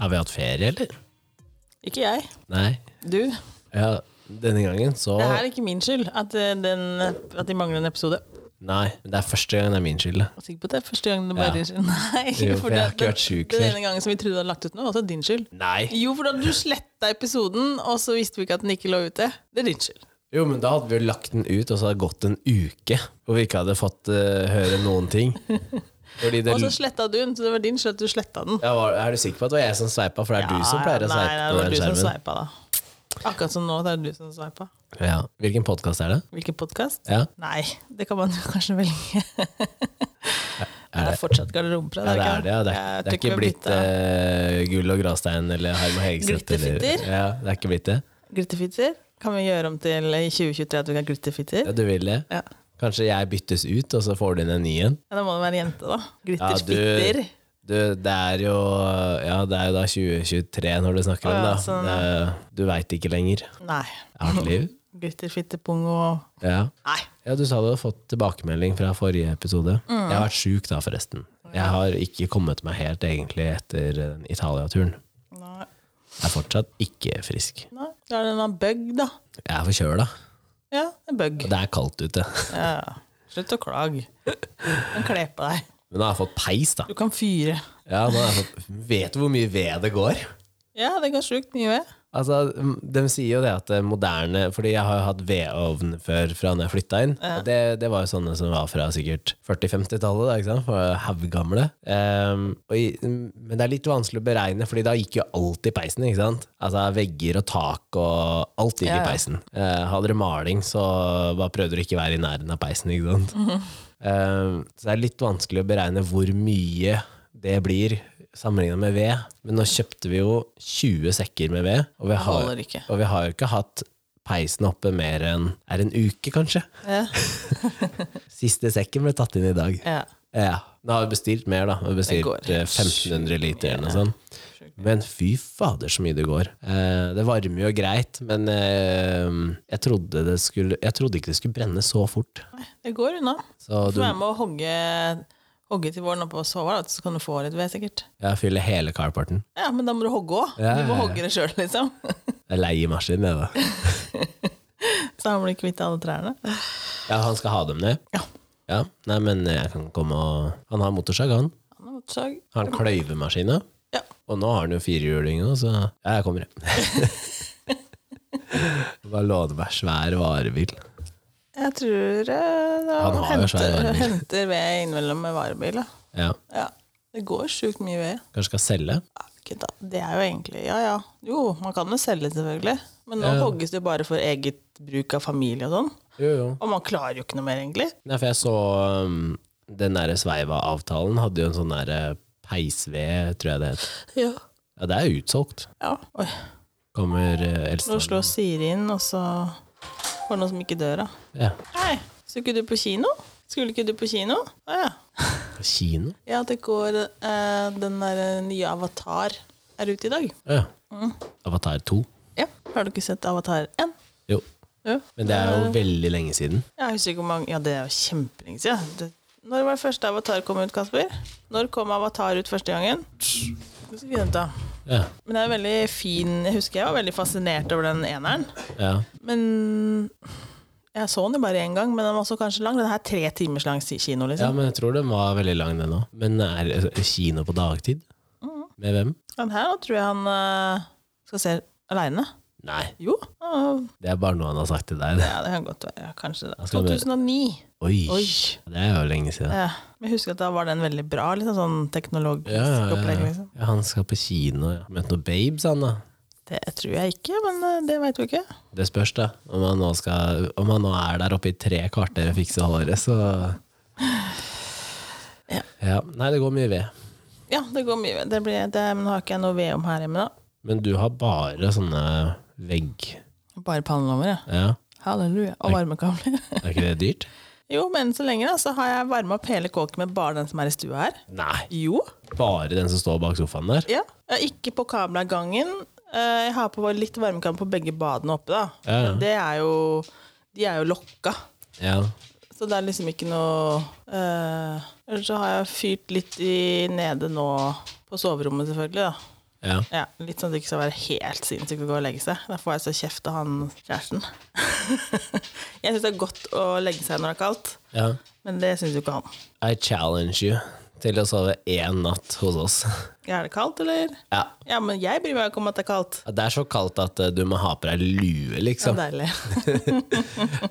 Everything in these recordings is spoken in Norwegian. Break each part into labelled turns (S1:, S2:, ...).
S1: Har vi hatt ferie, eller?
S2: Ikke jeg.
S1: Nei.
S2: Du.
S1: Ja, denne gangen så
S2: Det her er ikke min skyld at, eh, den, at de mangler en episode. Jeg
S1: Nei, men det er første gang det er min skyld. det.
S2: er sikker på at det er første gang det bare er
S1: Ja.
S2: din skyld. Nei,
S1: Jo, for jeg har
S2: det-
S1: ikke vært syk
S2: Den
S1: før.
S2: ene gangen som vi trodde du hadde lagt ut noe, var også din skyld.
S1: Nei.
S2: Jo, for da du sletta episoden, og så visste vi ikke at den ikke lå ute. Det er din skyld.
S1: Jo, men da hadde vi jo lagt den ut, og så hadde det gått en uke hvor vi ikke hadde fått eh, høre noen ting. Fordi det
S2: Og så sletta du den, så det var din skyld at du sletta den.
S1: ja, var, Er du sikker på at det var jeg som sveipa? For det er du som pleier å
S2: nei,
S1: sveipe
S2: nei,
S1: på
S2: det var
S1: den
S2: du som
S1: skjermen.
S2: sveipa da. Akkurat som nå, det er du som sveipa.
S1: Ja. Hvilken podkast er det?
S2: Hvilken podkast?
S1: Ja.
S2: Nei, det kan man jo kanskje velge. det er fortsatt garderobeprat.
S1: Ja, det er det. Ja. Det, er, det er ikke blitt eh, Gull og Grastein eller Harm og Hegseth. eller-
S2: Glitterfitter?
S1: Ja, det er ikke blitt det?
S2: Glitterfitter? Kan vi gjøre om til i 2023 at vi kan ha glitterfitter?
S1: Ja, du vil det?
S2: Ja.
S1: Kanskje jeg byttes ut, og så får du inn en ny en?
S2: ja, Da må det være en jente, da.
S1: Ja, du,
S2: Glitterfitter.
S1: du, det er jo Ja, det er jo da 2023 når du snakker om
S2: Å ja,
S1: det.
S2: sånn,
S1: det du veit ikke lenger.
S2: Nei.
S1: Jeg har et liv.
S2: Glitterfittepung og
S1: Ja.
S2: Nei.
S1: ja, du sa du hadde fått tilbakemelding fra forrige episode.
S2: Mm.
S1: Jeg har vært sjuk da, forresten. Jeg har ikke kommet meg helt egentlig etter den Italia-turen.
S2: Nei.
S1: Jeg er fortsatt ikke frisk.
S2: Nei. Da er det en eller annen bug, da.
S1: Jeg er forkjøla,
S2: Ja, en bug.
S1: og det er kaldt ute.
S2: Ja. ja. Slutt å klage. Den kler på deg.
S1: Men nå har jeg fått peis, da.
S2: Du kan fyre.
S1: Ja, nå har jeg fått, vet du hvor mye ved det går?
S2: Ja, det går sjukt mye ved.
S1: Altså, m- De sier jo det at det moderne Fordi jeg har jo hatt vedovn før fra når jeg flytta inn. Og det, det var jo sånne som var fra sikkert 40-50-tallet. da, ikke sant? For Haugamle. Ehm, og i- m- men det er litt vanskelig å beregne, Fordi da gikk jo alt i peisen. ikke sant? Altså Vegger og tak og alt gikk
S2: Ja, ja.
S1: i peisen. Eh, hadde dere maling, så bare prøvde dere ikke være i nærheten av peisen. ikke sant? Ehm, så det er litt vanskelig å beregne hvor mye det blir sammenligna med ved. Men nå kjøpte vi jo 20 sekker med ved. Og vi
S2: Det
S1: har,
S2: holder ikke.
S1: og vi har jo ikke hatt peisen oppe mer enn er det en uke, kanskje.
S2: Ja.
S1: Siste sekken ble tatt inn i dag.
S2: ja.
S1: Ja. Nå har vi bestilt mer, da. Vi har
S2: går
S1: bestilt eh,
S2: helt
S1: 1500 liter eller noe
S2: Ja.
S1: sånt. Men fy fader, så mye det går. Eh, det varmer jo greit, men eh, jeg, trodde det skulle, jeg trodde ikke det skulle brenne så fort.
S2: Nei, Det går unna.
S1: Så
S2: Du
S1: du
S2: får være med å hogge, hogge til våren oppå sover, da, så kan du få litt ved, sikkert.
S1: jeg fyller hele carparten.
S2: Ja, men da må du hogge òg.
S1: Ja,
S2: Du
S1: ja,
S2: må
S1: ja.
S2: hogge det sjøl, liksom.
S1: Jeg leier maskin, jeg, da.
S2: Så da blir du kvitt alle trærne.
S1: Ja, han skal ha dem ned?
S2: Ja.
S1: Ja, Nei, men eh, jeg kan komme og Han har motorsag, han.
S2: Han har hatt sag.
S1: Har han kløyvemaskina?
S2: Ja.
S1: Og nå har han jo firehjuling òg, så ja, jeg kommer, jeg. Bare låne meg svær varebil.
S2: Jeg tror eh, da
S1: Han har jo svær
S2: henter,
S1: varebil.
S2: henter ved innimellom med varebil. da.
S1: Ja,
S2: Ja. Det går sjukt mye ved.
S1: Kanskje skal selge?
S2: Ja, ikke da. Det er jo egentlig Ja ja. Jo, man kan jo selge, selvfølgelig. Men nå
S1: Ja.
S2: hogges det jo bare for eget bruk av familie og sånn.
S1: Jo, jo.
S2: Og man klarer jo ikke noe mer, egentlig.
S1: Nei, for jeg så um, den derre Sveiva-avtalen hadde jo en sånn derre peisved, tror jeg det het.
S2: Ja.
S1: Ja, det er utsolgt.
S2: ja. Oi.
S1: Kommer uh,
S2: Nå
S1: Elstad.
S2: slår Siri inn, og så var det noen som ikke dør av.
S1: Ja.
S2: Hei, skulle ikke du på kino? Skulle ikke du på kino? Å ja.
S1: Kino?
S2: Ja, det går eh, Den der nye Avatar er ute i dag.
S1: Ja. Avatar 2.
S2: Ja. Har du ikke sett Avatar 1?
S1: Jo.
S2: Jo.
S1: Men det er jo veldig lenge siden.
S2: Jeg husker ikke hvor mange Ja, det er jo kjempelenge siden. Det- Når var det første Avatar kom ut, Kasper? Når kom Avatar ut første gangen? Skal vi finne ut av.
S1: Ja.
S2: Men det er veldig fin Jeg husker jeg var veldig fascinert over den eneren.
S1: ja.
S2: Men jeg så den jo bare én gang, men den var også kanskje lang. Den her er tre timers lang si- kino,
S1: Ja,
S2: liksom.
S1: men jeg tror den var veldig lang, den òg. Men er er kino på dagtid?
S2: Mhm.
S1: Med hvem?
S2: Den her tror jeg han eh, skal se aleine.
S1: Nei,
S2: Jo. ah,
S1: det er bare noe han har sagt til deg. det.
S2: Ja, det kan godt være. Kanskje det.
S1: skal vi-
S2: 2009.
S1: Oi,
S2: Oi.
S1: det er jo lenge siden.
S2: Ja. Men jeg husker at da var den veldig bra, liksom sånn teknologisk
S1: Ja, ja,
S2: opplegg.
S1: ja.
S2: liksom.
S1: ja, han skal på kino. Ja. Møtt noen babes, han da.
S2: Det tror jeg ikke, men eh, det veit vi ikke.
S1: Det spørs, da. Om han nå, skal, om han nå er der oppe i tre kvarter og fikser håret, så
S2: Ja.
S1: ja. Nei, det går mye ved.
S2: Ja, det går mye. Det blir, det, men nå har ikke jeg noe ved om her hjemme, da.
S1: Men du har bare sånne vegg...
S2: Bare pannelommer, ja.
S1: Ja,
S2: Halleluja. Og varmekabler.
S1: er ikke det dyrt?
S2: jo, men så lenge da, så har jeg varma opp hele kåken med bare den som er i stua her.
S1: Nei,
S2: Jo.
S1: bare den som står bak sofaen der?
S2: Ja. Jeg er Ikke på kabelen av gangen. Eh, Jeg har på litt varmekabel på begge badene oppe, da.
S1: Ja, ja.
S2: Men Det er jo De er jo lokka.
S1: Ja.
S2: Så det er liksom ikke noe eh, øh, Ellers så har jeg fyrt litt i nede nå, på soverommet selvfølgelig, da.
S1: Ja.
S2: Ja, litt sånn at det ikke skal være helt sinnssykt å gå og legge seg. Da får jeg så kjeft av han kjæresten. jeg syns det er godt å legge seg når det er kaldt,
S1: ja.
S2: men det syns jo ikke han.
S1: I challenge you til å sove én natt hos oss.
S2: Er det kaldt, eller?
S1: Ja.
S2: Ja, men jeg bryr meg ikke om at det er kaldt.
S1: Det er så kaldt at eh, du må ha på deg lue,
S2: Så
S1: liksom.
S2: deilig.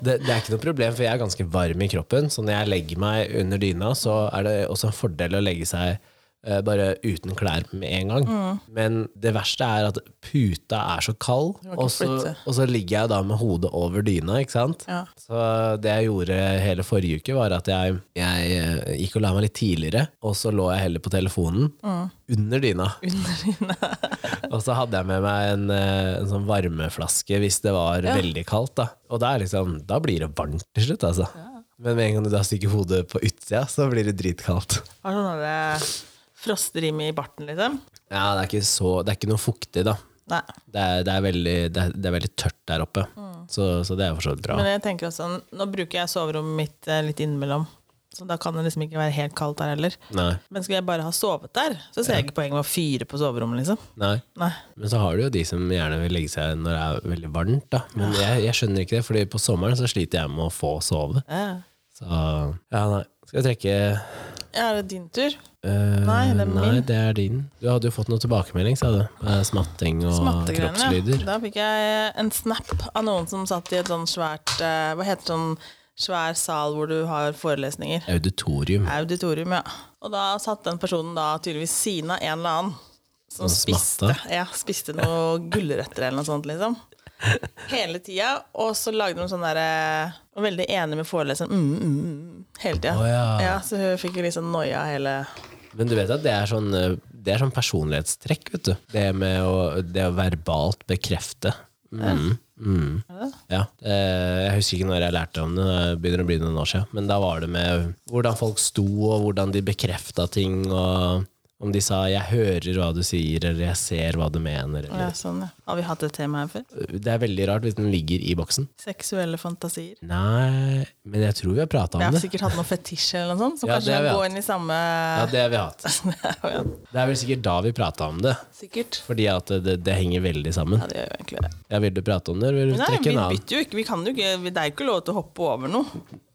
S1: Det, det er ikke noe problem, for jeg er ganske varm i kroppen. Så når jeg legger meg under dyna, så er det også en fordel å legge seg eh, bare uten klær med en gang.
S2: Mm.
S1: Men det verste er at puta er så kald,
S2: ikke
S1: og så,
S2: flytte.
S1: og så ligger jeg da med hodet over dyna, ikke sant.
S2: Ja.
S1: Så det jeg gjorde hele forrige uke, var at jeg, jeg eh, gikk og la meg litt tidligere, og så lå jeg heller på telefonen
S2: Mm.
S1: under dyna.
S2: Under dyna.
S1: Og så hadde jeg med meg en, eh, en sånn varmeflaske hvis det var veldig kaldt. Da Og da, er liksom, da blir det varmt til slutt, altså. Men med en gang du da stikker hodet på utsida, så blir det dritkaldt.
S2: Har sånn derre frosterim i barten, liksom.
S1: Ja, det er ikke, så, det er ikke noe fuktig, da.
S2: Nei.
S1: Det er, det er, veldig, det er, det er veldig tørt der oppe, så, så det er for så vidt bra.
S2: Men jeg tenker også, nå bruker jeg soverommet mitt eh, litt innimellom, så da kan det liksom ikke være helt kaldt der heller.
S1: Nei,
S2: Men skulle jeg bare ha sovet der, så ser jeg ikke poenget med å fyre på soverommet, liksom.
S1: nei.
S2: Nei.
S1: Men så har du jo de som gjerne vil legge seg når det er veldig varmt, da. Men jeg, jeg skjønner ikke det, Fordi på sommeren så sliter jeg med å få sove.
S2: Ja.
S1: Så ja, nei. Skal vi trekke
S2: Ja, er det din tur?
S1: Eh,
S2: Nei, det er
S1: nei,
S2: min.
S1: det er din. Du hadde jo fått noe tilbakemelding, sa du. Eh, Smatting og
S2: Smattegreiene.
S1: kroppslyder.
S2: Da fikk jeg eh, en snap av noen som satt i et sånn svært eh, Hva heter sånn svær sal hvor du har forelesninger?
S1: Auditorium.
S2: Auditorium, ja. Og da satt den personen da tydeligvis siden av en eller annen. Som
S1: Og
S2: spiste,
S1: smatta.
S2: ja, spiste noe gulrøtter eller noe sånt, liksom. Hele tida. Og så lagde de sånn derre Og veldig enig med foreleseren. Mm, mm, mm, hele tida.
S1: Å, ja.
S2: ja, så hun fikk jo litt sånn noia hele
S1: Men du vet at det er sånn, eh, det er sånn personlighetstrekk, vet du. Det med å, det å verbalt bekrefte. Mm. Mm. Ja. Eh, Jeg husker ikke når jeg lærte om det, det begynner å bli noen år siden. Men da var det med hvordan folk sto, og hvordan de bekrefta ting. og om de sa 'jeg hører hva du sier', eller 'jeg ser hva du mener'.
S2: ja,
S1: Eller.
S2: sånn, ja. Har vi hatt et tema her før?
S1: Det er veldig rart hvis den ligger i boksen.
S2: Seksuelle fantasier.
S1: Nei, men jeg tror vi har prata om
S2: Jeg har
S1: det.
S2: sikkert hatt noen fetisjer eller noe sånt, som
S1: Ja, det
S2: kanskje
S1: har vi
S2: kan gå
S1: hatt.
S2: inn i samme Sånn,
S1: Ja, det har vi hatt.
S2: Ja,
S1: Det er vel sikkert da vi prata om det.
S2: Sikkert.
S1: Fordi at det, det henger veldig sammen.
S2: Ja, det gjør jo egentlig det.
S1: Ja, Vil du prate om det, eller vil du
S2: Nei,
S1: trekke
S2: vi
S1: en annen?
S2: bytter jo ikke. Vi kan jo ikke vi- Det er jo ikke lov til å hoppe over noe.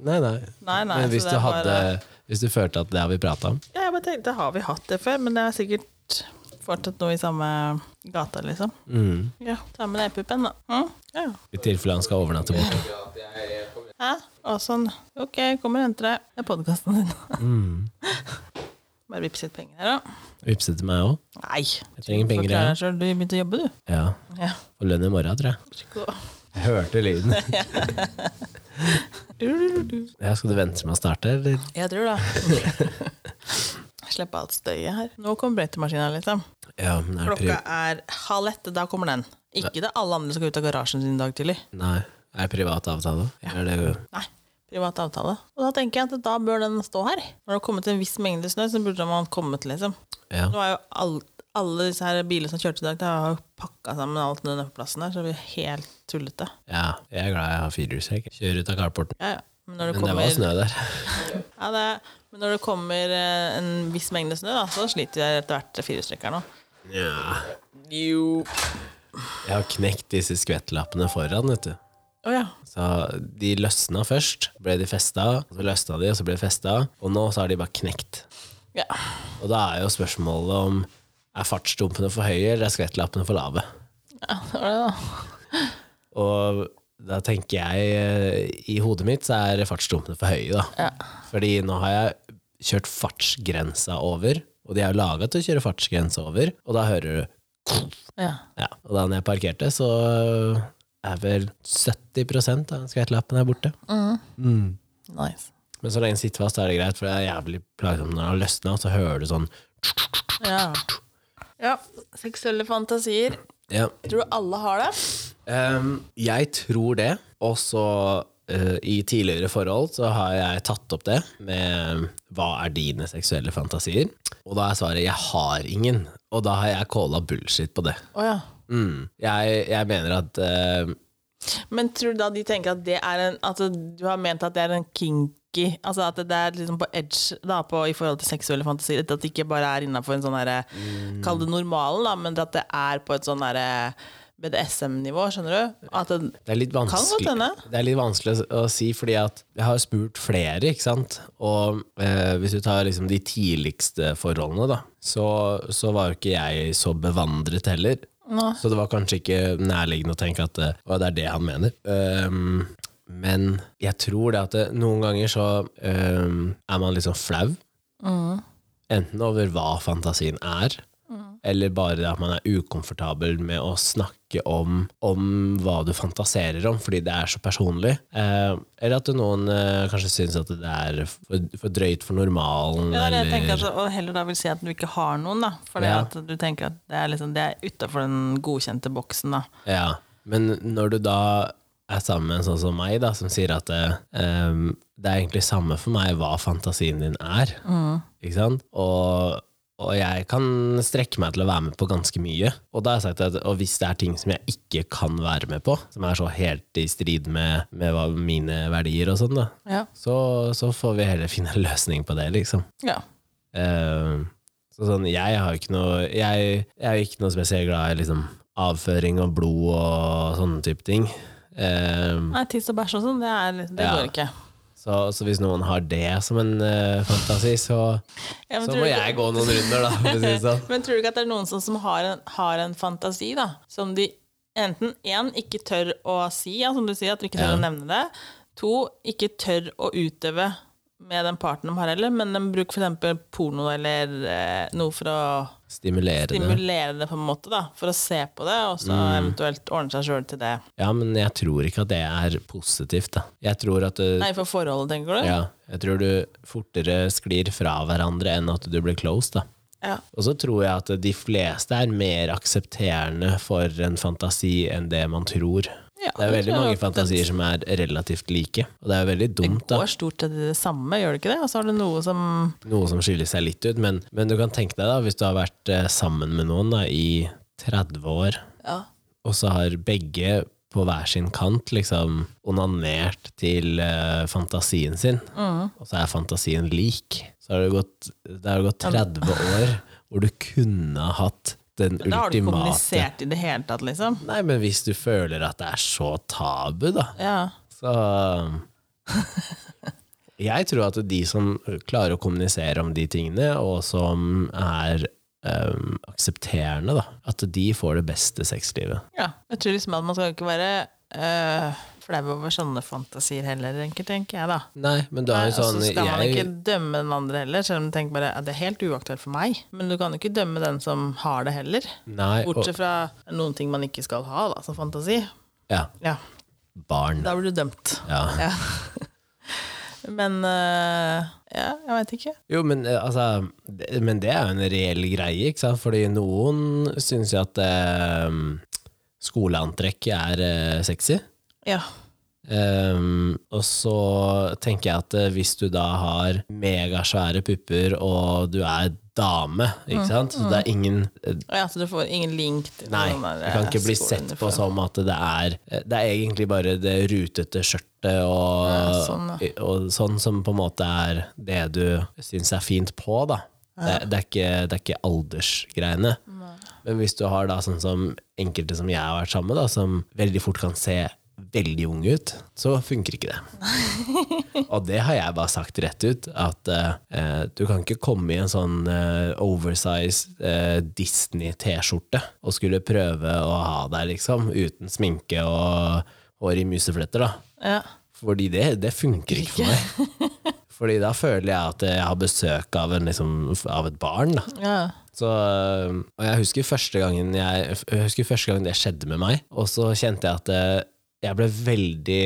S1: Nei, nei.
S2: Nei, nei,
S1: Men
S2: så
S1: hvis
S2: det
S1: du,
S2: er
S1: hadde,
S2: bare-
S1: hvis du følte at det har vi prata om
S2: Ja, jeg bare tenkte, har vi hatt det før? Men det er sikkert fortsatt noe i samme gata, liksom.
S1: mm.
S2: Ja, ta med deg puppen, da. Mm? Ja.
S1: I tilfelle han skal overnatte borte.
S2: Hæ? Å, sånn. Ok, jeg kommer og henter deg. Det er podkasten din.
S1: Mm.
S2: Bare vips litt penger her, da.
S1: Vippse til meg òg.
S2: Nei.
S1: Jeg trenger penger,
S2: Forklarer
S1: jeg.
S2: deg selv. Du begynte å jobbe, du.
S1: Ja.
S2: Ja.
S1: Og lønn i morgen, tror jeg. Jeg hørte lyden. Ja, skal du vente til man starter, eller?
S2: Jeg tror det. Slippe alt støyet her. Nå kommer brøytemaskina, liksom.
S1: Ja, men er det pri
S2: Klokka er halv ett, da kommer den. Ikke det alle andre skal ut av garasjen sin i dag tidlig.
S1: nei. Er det privat avtale? Eller er det
S2: Nei. Privat avtale. Og da tenker jeg at da bør den stå her. Når det har kommet en viss mengde snø, så burde man kommet, liksom.
S1: Ja.
S2: Nå er jo alt, alle disse her bilene som kjørte i dag, de har jo pakka sammen alt den plassen her, så vi er helt tullete.
S1: ja. Jeg er glad jeg har firehjulstrekk. Kjører ut av carporten.
S2: Ja, ja. Men når det
S1: Men det
S2: kommer,
S1: var snø der.
S2: ja, det er, men når det kommer eh, en viss mengde snø, da, så sliter jeg etter hvert firestrekkeren òg.
S1: Ja.
S2: Jo.
S1: Jeg har knekt disse skvettlappene foran, vet du.
S2: Å ja.
S1: Så de løsna først, ble de festa, og så løsna de, og så ble de festa, og nå så har de bare knekt.
S2: ja.
S1: Og da er jo spørsmålet om er fartsdumpene for høye, eller er skvettlappene for lave?
S2: Ja, det var det, da.
S1: Og da tenker jeg, eh, i hodet mitt så er fartsdumpene for høye, da.
S2: Ja.
S1: Fordi nå har jeg kjørt fartsgrensa over, og de er jo laga til å kjøre fartsgrensa over, og da hører du
S2: Ja.
S1: Ja, og da når jeg parkerte, så er vel 70 av skvettlappen er borte.
S2: Nice.
S1: Men så lenge den sitter fast, er det greit, for det er jævlig plagsomt når den har løsna, så hører du sånn
S2: Ja. ja. Seksuelle fantasier.
S1: Ja.
S2: Tror du alle har det?
S1: Ehm, jeg tror det, og så eh, i tidligere forhold så har jeg tatt opp det med hva er dine seksuelle fantasier? Og da er svaret 'jeg har ingen', og da har jeg calla bullshit på det.
S2: Å ja.
S1: Mm. Jeg, jeg mener at eh,
S2: Men tror du da de tenker at det er en At du har ment at det er en kink tricky. Altså at det, det er liksom på edge da, på, i forhold til seksuelle fantasier. At det ikke bare er innafor en sånn herre Kall det normalen, da, men at det er på et sånn herre BDSM-nivå, skjønner du? At det,
S1: Det er litt
S2: godt
S1: vanskelig,
S2: hende.
S1: det er litt vanskelig å å si, fordi at jeg har spurt flere, ikke sant? Og eh, hvis du tar liksom de tidligste forholdene, da, så, så var jo ikke jeg så bevandret heller.
S2: Nå.
S1: Så det var kanskje ikke nærliggende å tenke at eh, «Å, det er det han mener. Ehm, men jeg tror det at det, noen ganger så ehm, er man liksom flau. Enten over hva fantasien er, eller bare at man er ukomfortabel med å snakke om, om hva du fantaserer om, fordi det er så personlig. Eh, eller at noen eh, kanskje syns at det er for, for drøyt for normalen.
S2: Ja, det er det jeg
S1: eller,
S2: tenker, altså, og heller da vil si at du ikke har noen, da. For
S1: Ja.
S2: at du tenker at det er, liksom, det er utafor den godkjente boksen, da.
S1: Ja, men når du da er sammen med en sånn som meg, da, som sier at eh, ehm, det er egentlig samme for meg hva fantasien din er, ikke sant? Og, og jeg kan strekke meg til å være med på ganske mye. Og da har jeg sagt at og hvis det er ting som jeg ikke kan være med på, som er så helt i strid med, med hva, mine verdier og sånn, da,
S2: Ja.
S1: så, så får vi heller finne en løsning på det, liksom.
S2: ja.
S1: Eh, så sånn, jeg har jo ikke noe jeg, jeg er jo ikke noe spesielt glad i liksom, avføring og blod og sånne type ting. Eh,
S2: Nei, tiss og bæsj og sånn, det, er, liksom- det
S1: Ja.
S2: går ikke.
S1: så, så hvis noen har det som en eh, fantasi, så,
S2: Ja, men
S1: så
S2: tror
S1: må
S2: du ikke-
S1: jeg gå noen runder, da. For å si det sånn.
S2: Men tror du ikke at det er noen som, som har, en, har en fantasi, da, som de enten en, ikke tør å si, ja, som du sier, at du ikke tør
S1: Ja.
S2: å nevne det, to, ikke tør å utøve med den parten de har heller, men de bruker for eksempel porno eller eh, noe for å
S1: Stimulere det.
S2: stimulere det på en måte, da, for å se på det, og
S1: Mm.
S2: så eventuelt ordne seg sjøl til det.
S1: Ja, men jeg tror ikke at det er positivt, da. Jeg tror at eh,
S2: Nei, for forholdet, tenker du?
S1: ja, jeg tror du fortere sklir fra hverandre enn at du blir close, da.
S2: Ja.
S1: Og så tror jeg at de fleste er mer aksepterende for en fantasi enn det man tror.
S2: Ja,
S1: det er
S2: det
S1: veldig
S2: tror jeg
S1: mange
S2: nok.
S1: fantasier som er relativt like, og det er veldig dumt da.
S2: Går stort sett i det samme, gjør det ikke det? Og så har du noe som
S1: Noe som skiller seg litt ut, men, men du kan tenke deg da, hvis du har vært eh, sammen med noen da, i 30 år,
S2: Ja.
S1: og så har begge på hver sin kant liksom onanert til eh, fantasien sin,
S2: Mm.
S1: og så er fantasien lik, så har det gått, det har gått 30 år hvor du kunne ha hatt den
S2: Da har du ikke
S1: ultimate
S2: kommunisert i det hele tatt, liksom.
S1: Nei, men hvis du føler at det er så tabu, da,
S2: Ja.
S1: så um, Jeg tror at de som klarer å kommunisere om de tingene, og som er øhm, aksepterende, da, at de får det beste sexlivet.
S2: Ja, jeg tror liksom at man skal ikke være øh, flau over sånne fantasier heller, tenker, tenker jeg da.
S1: Nei, men du har
S2: Nei,
S1: jo sånn
S2: altså, skal man
S1: jeg,
S2: ikke dømme den andre heller, selv om du tenker bare at det er helt uaktuelt for meg. Men du kan jo ikke dømme den som har det heller.
S1: Nei, og,
S2: Bortsett fra noen ting man ikke skal ha, da, som fantasi.
S1: ja,
S2: Ja,
S1: barn.
S2: da blir du dømt.
S1: Ja.
S2: Ja. Men øh, ja, jeg veit ikke.
S1: Jo, men, eh, altså, det, men det er jo en reell greie, ikke sant? Fordi noen syns jo at eh, skoleantrekk er eh, sexy.
S2: Ja.
S1: Ehm, og så tenker jeg at eh, hvis du da har megasvære pupper, og du er dame,
S2: Mm,
S1: ikke sant? Så det er ingen eh,
S2: ja, så du får ingen link til
S1: Nei,
S2: noen
S1: du
S2: der, eh,
S1: kan ikke bli
S2: skolen
S1: sett
S2: du
S1: på
S2: får.
S1: som at det er eh, Det er egentlig bare det rutete skjørtet og,
S2: Ja, sånn,
S1: og sånn som på en måte er det du syns er fint på, da. Det, det, er ikke, det er ikke aldersgreiene. Men hvis du har da sånn som enkelte som jeg har vært sammen med, da, som veldig fort kan se veldig ung ut, så funker ikke det. Og det har jeg bare sagt rett ut, at eh, du kan ikke komme i en sånn eh, oversized eh, Disney-T-skjorte og skulle prøve å ha deg, liksom, uten sminke og hår i musefletter, da.
S2: Ja.
S1: Fordi det, det funker ikke for meg. Fordi da føler jeg at jeg har besøk av, en, liksom, av et barn, da.
S2: Ja.
S1: Så, øh, og jeg husker første gangen jeg, jeg husker første gangen det skjedde med meg, og så kjente jeg at øh, jeg ble veldig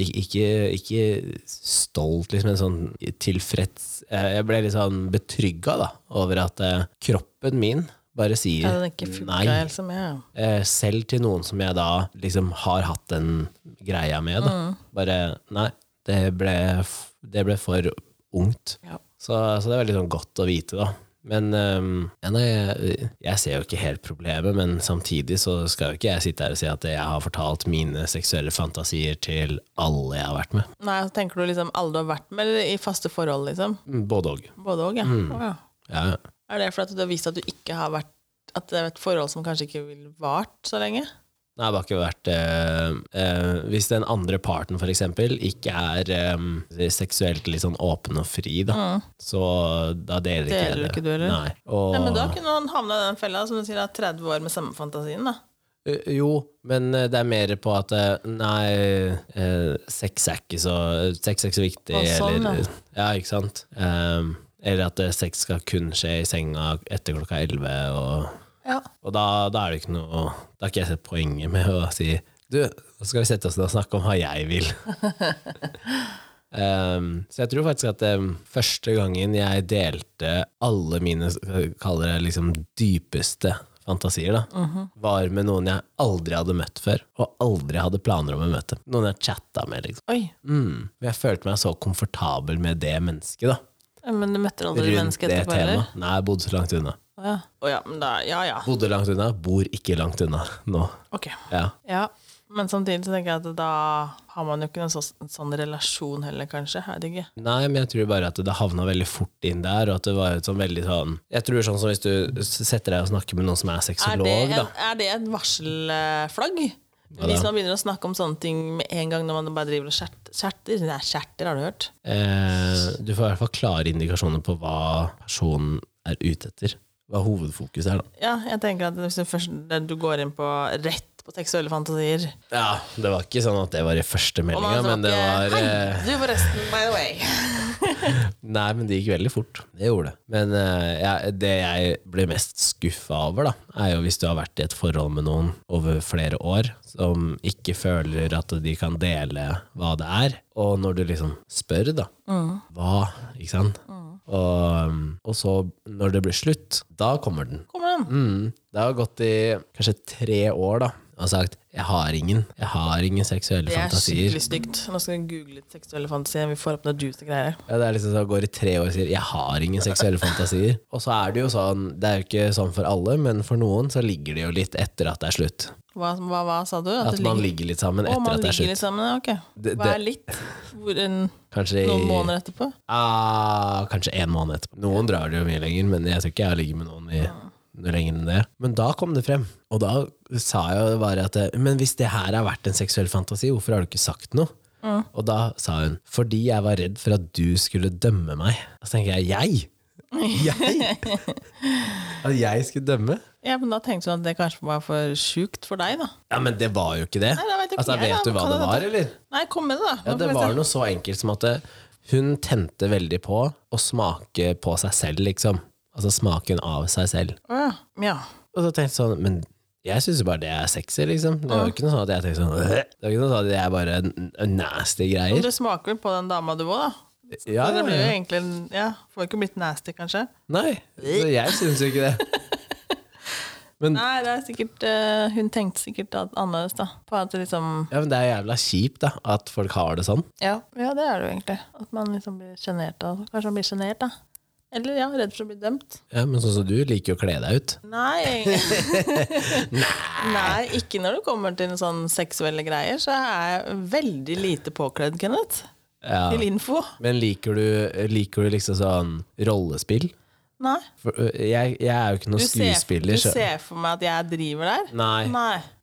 S1: Ik- ikke, ikke stolt, liksom, men sånn tilfreds eh, Jeg ble litt sånn betrygga da, over at eh, kroppen min bare
S2: ja,
S1: sier
S2: den ikke funka
S1: nei.
S2: helt som jeg.
S1: Eh, selv til noen som jeg da liksom har hatt den greia med. Da.
S2: Mm.
S1: Bare nei, det ble, f- det ble for ungt.
S2: Ja.
S1: Så, så det er veldig sånn godt å vite, da. Men ehm, ja, nei, jeg, jeg ser jo ikke helt problemet, men samtidig så skal jo ikke jeg sitte her og si at jeg har fortalt mine seksuelle fantasier til alle jeg har vært med.
S2: Nei, så tenker du liksom alle du har vært med, eller i faste forhold, liksom?
S1: Mm, Både og.
S2: Både òg, ja.
S1: Mm.
S2: Å, ja.
S1: Ja, ja.
S2: Er det fordi at du har vist at du ikke har vært At det er et forhold som kanskje ikke vil vart så lenge?
S1: Nei, det har ikke vært eh, eh, Hvis den andre parten for eksempel ikke er eh, seksuelt litt sånn åpen og fri, da, så da deler,
S2: Mm. Deler
S1: jeg det.
S2: ikke du heller?
S1: Nei. Og,
S2: Nei, men da kunne han havna i den fella som du sier er 30 år med samme fantasien. da
S1: Eh, Jo, men eh, det er mer på at eh, Nei, eh, sex er ikke så Sex er ikke så viktig,
S2: Å, sånn,
S1: eller
S2: ja.
S1: ja. ikke sant? Ehm, eller at eh, sex skal kun skje i senga etter klokka elleve, og,
S2: Ja,
S1: og da, da er det ikke noe Da har ikke jeg sett poenget med å si Du, nå skal vi sette oss ned og snakke om hva jeg vil. Ehm, så jeg tror faktisk at ehm, første gangen jeg delte alle mine skal vi kalle det liksom dypeste fantasier, da,
S2: Mhm.
S1: var med noen jeg aldri hadde møtt før, og aldri hadde planer om å møte. Noen jeg chatta med, liksom.
S2: Oi,
S1: Mm. Men jeg følte meg så komfortabel med det mennesket, da.
S2: men du møtte aldri
S1: Rundt
S2: mennesket
S1: det
S2: etterpå heller?
S1: temaet. Nei, jeg bodde så langt unna.
S2: Å ja. Å ja, men da, ja ja.
S1: Bodde langt unna, bor ikke langt unna nå.
S2: Ok.
S1: Ja.
S2: Ja. Men samtidig så tenker jeg at da har man jo ikke noen sånn, sånn relasjon heller, kanskje. Jeg vet ikke.
S1: Nei, men jeg tror bare at det havna veldig fort inn der, og at det var et sånn veldig sånn Jeg tror sånn som hvis du s- setter deg og snakker med noen som er
S2: Er
S1: sexolog,
S2: det, en,
S1: da.
S2: er det en varselflagg?
S1: da?
S2: Hvis man begynner å snakke om sånne ting med en gang når man bare driver og skjert- skjerter Nei, skjerter, har du hørt?
S1: Eh, du får i hvert fall klare indikasjoner på hva personen er ute etter. Hva hovedfokuset er, da.
S2: Ja, jeg tenker at hvis du først det du går inn på rett på seksuelle fantasier
S1: Ja, det var ikke sånn at det var i første
S2: og
S1: meldinga,
S2: man sånn
S1: men det
S2: snakker,
S1: var eh,
S2: Hei, du forresten, by the way.
S1: Nei, men det gikk veldig fort. Det gjorde det. Men eh, jeg, det jeg ble mest skuffa over, da, er jo hvis du har vært i et forhold med noen over flere år, som ikke føler at de kan dele hva det er, og når du liksom spør, da,
S2: Mm.
S1: hva, ikke sant? Og, mm, og så, når det blir slutt, da kommer den.
S2: Kommer den?
S1: Mm. Det har gått i kanskje tre år, da, og sagt 'jeg har ingen'. Jeg har ingen seksuelle
S2: Det er
S1: fantasier.
S2: skikkelig stygt. Nå skal vi google litt seksuelle fantasier. Vi får opp noen juicy greier.
S1: Ja, det er liksom sånn, går i tre år og sier 'jeg har ingen seksuelle fantasier'. Og så er det jo sånn, det er jo ikke sånn for alle, men for noen så ligger det jo litt etter at det er slutt.
S2: Hva, hva, hva sa du?
S1: At
S2: det
S1: man ligger
S2: ligger-
S1: litt sammen
S2: Å,
S1: etter
S2: man
S1: at det er
S2: ligger
S1: slutt.
S2: litt sammen? ja, Ok.
S1: Det-
S2: Hva er
S1: det-
S2: litt? Hvor en,
S1: Kanskje i-
S2: noen måneder etterpå?
S1: Ah, kanskje en måned etterpå. Noen drar det jo mye lenger, men jeg tror ikke jeg har ligget med noen i noe lenger enn det. Men da kom det frem, og da sa jeg jo bare at eh, Men hvis det her har vært en seksuell fantasi, hvorfor har du ikke sagt noe? Og da sa hun fordi jeg var redd for at du skulle dømme meg. Og så tenker jeg jeg? Jeg? At jeg skulle dømme?
S2: Ja, men da tenkte du at det kanskje var for sjukt for deg, da.
S1: Ja, men det var jo ikke det.
S2: Nei, da vet jeg ikke
S1: altså,
S2: jeg, da.
S1: vet du hva
S2: Kan
S1: det
S2: jeg-
S1: var, eller?
S2: Nei, kom med det, da.
S1: Ja,
S2: Nå
S1: det
S2: får vi se.
S1: var noe så enkelt som at eh, hun tente veldig på å smake på seg selv, liksom. Altså smaken av seg selv.
S2: Å, ja. ja.
S1: Og så tenkte jeg sånn, men jeg syns jo bare det er sexy, liksom. Det var jo ikke noe sånn at jeg tenkte sånn «Øh». Det var ikke noe sånn at det er bare n- nasty
S2: Men
S1: greier.
S2: Du smaker vel på den dama du òg, da.
S1: Ja,
S2: Så
S1: ja,
S2: det blir jo
S1: ja.
S2: egentlig en- Ja, får ikke blitt nasty, kanskje.
S1: Nei, så jeg syns jo ikke det. Men,
S2: Nei, det er sikkert eh, Hun tenkte sikkert at annerledes, da. På at det liksom
S1: ja, men det er jævla kjipt, da, at folk har det sånn.
S2: Ja, ja det er det jo egentlig. At man liksom blir sjenert av Kanskje man blir sjenert, da. Eller ja, redd for å bli dømt.
S1: Ja, men sånn som du liker jo å kle deg ut.
S2: Nei. Nei. ikke når det kommer til sånne seksuelle greier, så er jeg veldig lite påkledd, Kenneth.
S1: Ja.
S2: Til info.
S1: Men liker du, liker du liksom sånn rollespill?
S2: Nei.
S1: For, øh, jeg, jeg er jo ikke
S2: Du
S1: noen
S2: ser, du
S1: skuespiller. så-
S2: ser for meg at jeg driver der?
S1: Nei. Mm.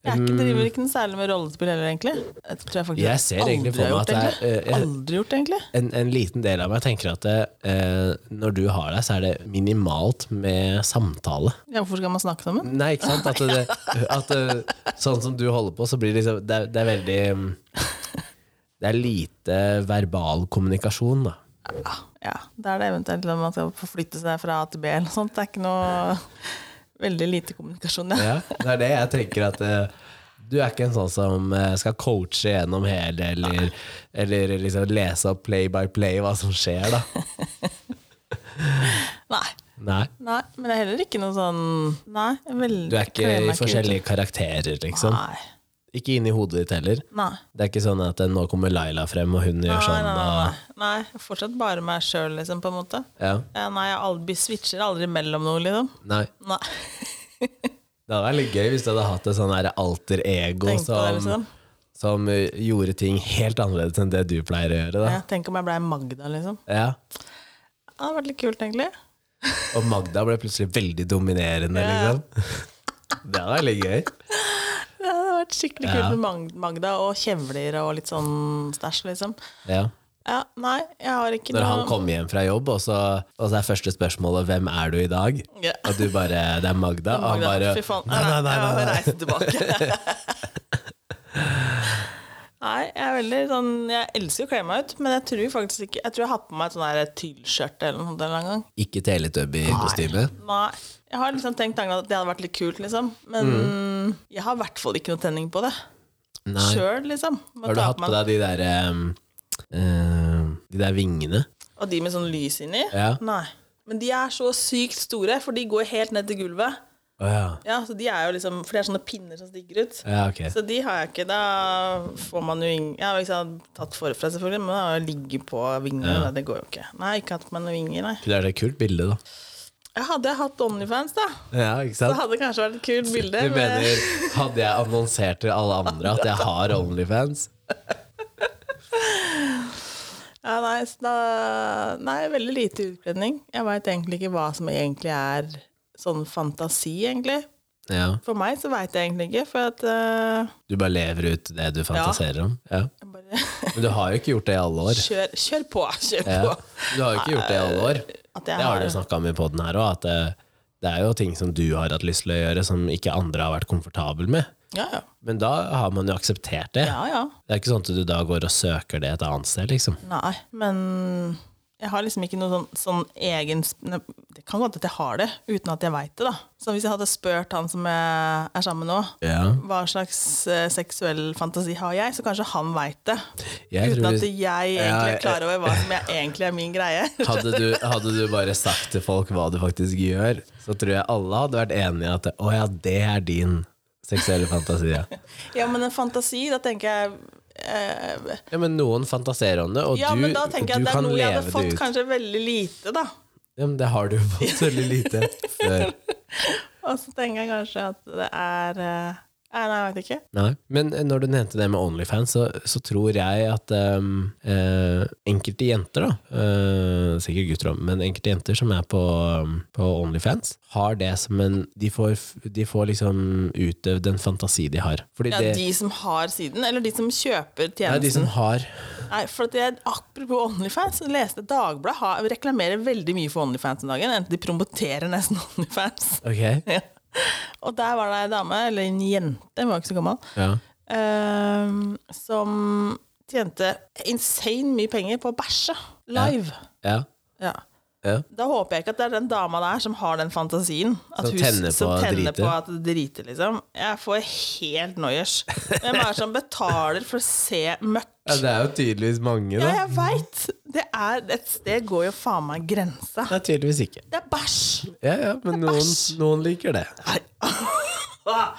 S2: Jeg er ikke, driver ikke noe særlig med rollespill heller, egentlig. Det tror jeg faktisk
S1: Jeg ser egentlig for
S2: aldri
S1: meg
S2: har
S1: at
S2: gjort,
S1: det er,
S2: egentlig.
S1: eh, jeg-
S2: Aldri gjort, egentlig.
S1: En, en liten del av meg tenker at det, eh, når du har deg, så er det minimalt med samtale.
S2: Ja, hvorfor skal man snakke sammen?
S1: Nei, ikke sant? At det, at det, sånn som du holder på, så blir det liksom Det, er- det er veldig mm, Det er lite verbal kommunikasjon, da.
S2: Ja, det er det eventuelt om man skal forflytte seg fra A til B eller noe sånt. Det er ikke noe Veldig lite kommunikasjon, ja.
S1: Ja, det er det jeg tenker at eh, du er ikke en sånn som eh, skal coache gjennom hele, eller, eller liksom lese opp play by play hva som skjer, da.
S2: Nei.
S1: Nei.
S2: Nei, men det er heller ikke noe sånn Nei, veldig
S1: Du er ikke i forskjellige karakterer, liksom.
S2: Nei.
S1: Ikke inni hodet ditt heller.
S2: Nei.
S1: Det er ikke sånn at eh, nå kommer Laila frem, og hun gjør
S2: Nei,
S1: sånn.
S2: nei, nei,
S1: Og,
S2: nei. nei, jeg er fortsatt bare meg sjøl, liksom, på en måte.
S1: ja,
S2: Eh, Nei, jeg aldri, switcher aldri mellom noe, liksom.
S1: nei.
S2: Nei.
S1: Det hadde vært litt gøy hvis du hadde hatt et sånn her alter ego
S2: Tenk på det,
S1: som,
S2: liksom.
S1: som eh, gjorde ting helt annerledes enn det du pleier å gjøre. Da.
S2: Ja, tenk om jeg blei Magda, liksom.
S1: Ja.
S2: Ja, Det hadde vært litt kult, egentlig.
S1: Og Magda ble plutselig veldig dominerende,
S2: Ja.
S1: liksom. Det hadde vært litt gøy.
S2: Det hadde vært skikkelig kult med Mag- Magda og kjevler og litt sånn stæsj, liksom.
S1: Ja.
S2: Ja, nei, jeg har ikke
S1: Når
S2: noe
S1: han kommer hjem fra jobb, og så, og så er første spørsmålet 'Hvem er du i dag?'
S2: Ja.
S1: Og du bare 'Det er Magda'. Og han
S2: Magda,
S1: bare
S2: Fy faen.
S1: Nei, nei, nei, nei,
S2: Jeg må
S1: nei.
S2: reise tilbake. Nei, jeg er veldig sånn Jeg elsker å kle meg ut, men jeg tror faktisk ikke Jeg tror jeg har på meg et sånn her tyllskjørt eller noe sånt en eller annen gang.
S1: Ikke Teletubby-kostyme.
S2: Nei. Jeg har liksom tenkt tanken at det hadde vært litt kult, liksom. Men jeg har i hvert fall ikke noe tenning på det.
S1: Mm. Nei.
S2: Sjøl, liksom. Må
S1: Har du
S2: ta
S1: hatt på
S2: meg-
S1: deg de der ehm, ehm, De der vingene?
S2: Og de med sånn lys inni?
S1: Ja.
S2: Nei. Men de er så sykt store, for de går helt ned til gulvet.
S1: Å ja.
S2: Ja, så de er jo liksom For det er sånne pinner som stikker ut.
S1: Ja, ok.
S2: Så de har jeg ikke. Da får man jo ingen Jeg har jo ikke sant, tatt forfra, selvfølgelig, men da ligge på vinger, da, det går jo ikke. Nei, jeg har ikke hatt på meg noen vinger, nei.
S1: Det er et kult bilde, da.
S2: Jeg hadde jeg hatt Onlyfans, da,
S1: Ja, ikke
S2: det
S1: sant?
S2: hadde kanskje vært et kult bilde.
S1: Du
S2: men-
S1: mener, hadde jeg annonsert til alle andre at jeg har Onlyfans?
S2: Ja, nei, så da, nei, veldig lite utkledning. Jeg veit egentlig ikke hva som egentlig er sånn fantasi, egentlig.
S1: Ja.
S2: For meg så veit jeg egentlig ikke, for at eh,
S1: Du bare lever ut det du fantaserer om? Ja.
S2: jeg bare
S1: Men du har jo ikke gjort det i alle år.
S2: kjør, kjør på, kjør på.
S1: Ja. Du har jo ikke gjort det i alle år.
S2: At
S1: Det har du snakka om i poden her òg, at det, det er jo ting som du har hatt lyst til å gjøre, som ikke andre har vært komfortabel med.
S2: Ja, ja.
S1: Men da har man jo akseptert det.
S2: ja, ja.
S1: Det er ikke sånn at du da går og søker det et annet sted, liksom.
S2: Nei, men jeg har liksom ikke noe sånn, sånn egen sp- ne- Det kan godt at jeg har det, uten at jeg veit det, da. Så hvis jeg hadde spurt han som jeg er sammen med nå,
S1: Ja.
S2: hva slags eh, seksuell fantasi har jeg, så kanskje han veit det.
S1: Jeg
S2: uten
S1: tror
S2: at
S1: hvis-
S2: jeg egentlig
S1: Ja,
S2: er klar over hva som jeg egentlig er min greie.
S1: Hadde du, hadde du bare sagt til folk hva du faktisk gjør, så tror jeg alle hadde vært enige i at å ja, det er din seksuelle fantasi. Ja.
S2: Ja, men en fantasi, da tenker jeg eh,
S1: ja, men noen fantaserer om det, og
S2: Ja,
S1: du,
S2: men da tenker jeg
S1: du
S2: at det er
S1: kan
S2: noe jeg hadde
S1: leve det
S2: fått
S1: ut.
S2: kanskje veldig lite, da.
S1: Ja, men det har du jo fått veldig lite før.
S2: Og så tenker jeg kanskje at det er eh, Nei, nei, jeg veit ikke.
S1: Nei. Men eh, når du nevnte det med Onlyfans, så, så tror jeg at ehm, eh, enkelte jenter, da eh, Sikkert gutter òg, men enkelte jenter som er på, ehm, på Onlyfans, har det som en De får, de får liksom utøvd den fantasi de har. Fordi
S2: Ja,
S1: det
S2: de som har siden, eller de som kjøper
S1: Nei, de
S2: tjenesten.
S1: som har
S2: Nei, for at jeg, Apropos Onlyfans, jeg leste Dagbladet har, reklamerer veldig mye for Onlyfans om dagen. Enten de promoterer nesten Onlyfans.
S1: Ok.
S2: Ja. Og der var det ei dame, eller en jente, hun var ikke så gammel,
S1: Ja.
S2: ehm, som tjente insane mye penger på å bæsje live.
S1: ja.
S2: Ja.
S1: ja.
S2: Da håper jeg ikke at det er den dama der som har den fantasien. At
S1: Som
S2: hun-
S1: tenner på å
S2: som tenner
S1: drite.
S2: på at det driter, liksom. Jeg får helt noiers. Hvem er det som betaler for å se møkk?
S1: Det er jo tydeligvis mange,
S2: Ja,
S1: da.
S2: jeg veit! Det er et sted går jo faen meg grensa.
S1: Det er tydeligvis ikke.
S2: Det er bæsj!
S1: Ja, ja, men noen, noen liker det.
S2: Nei. Ah.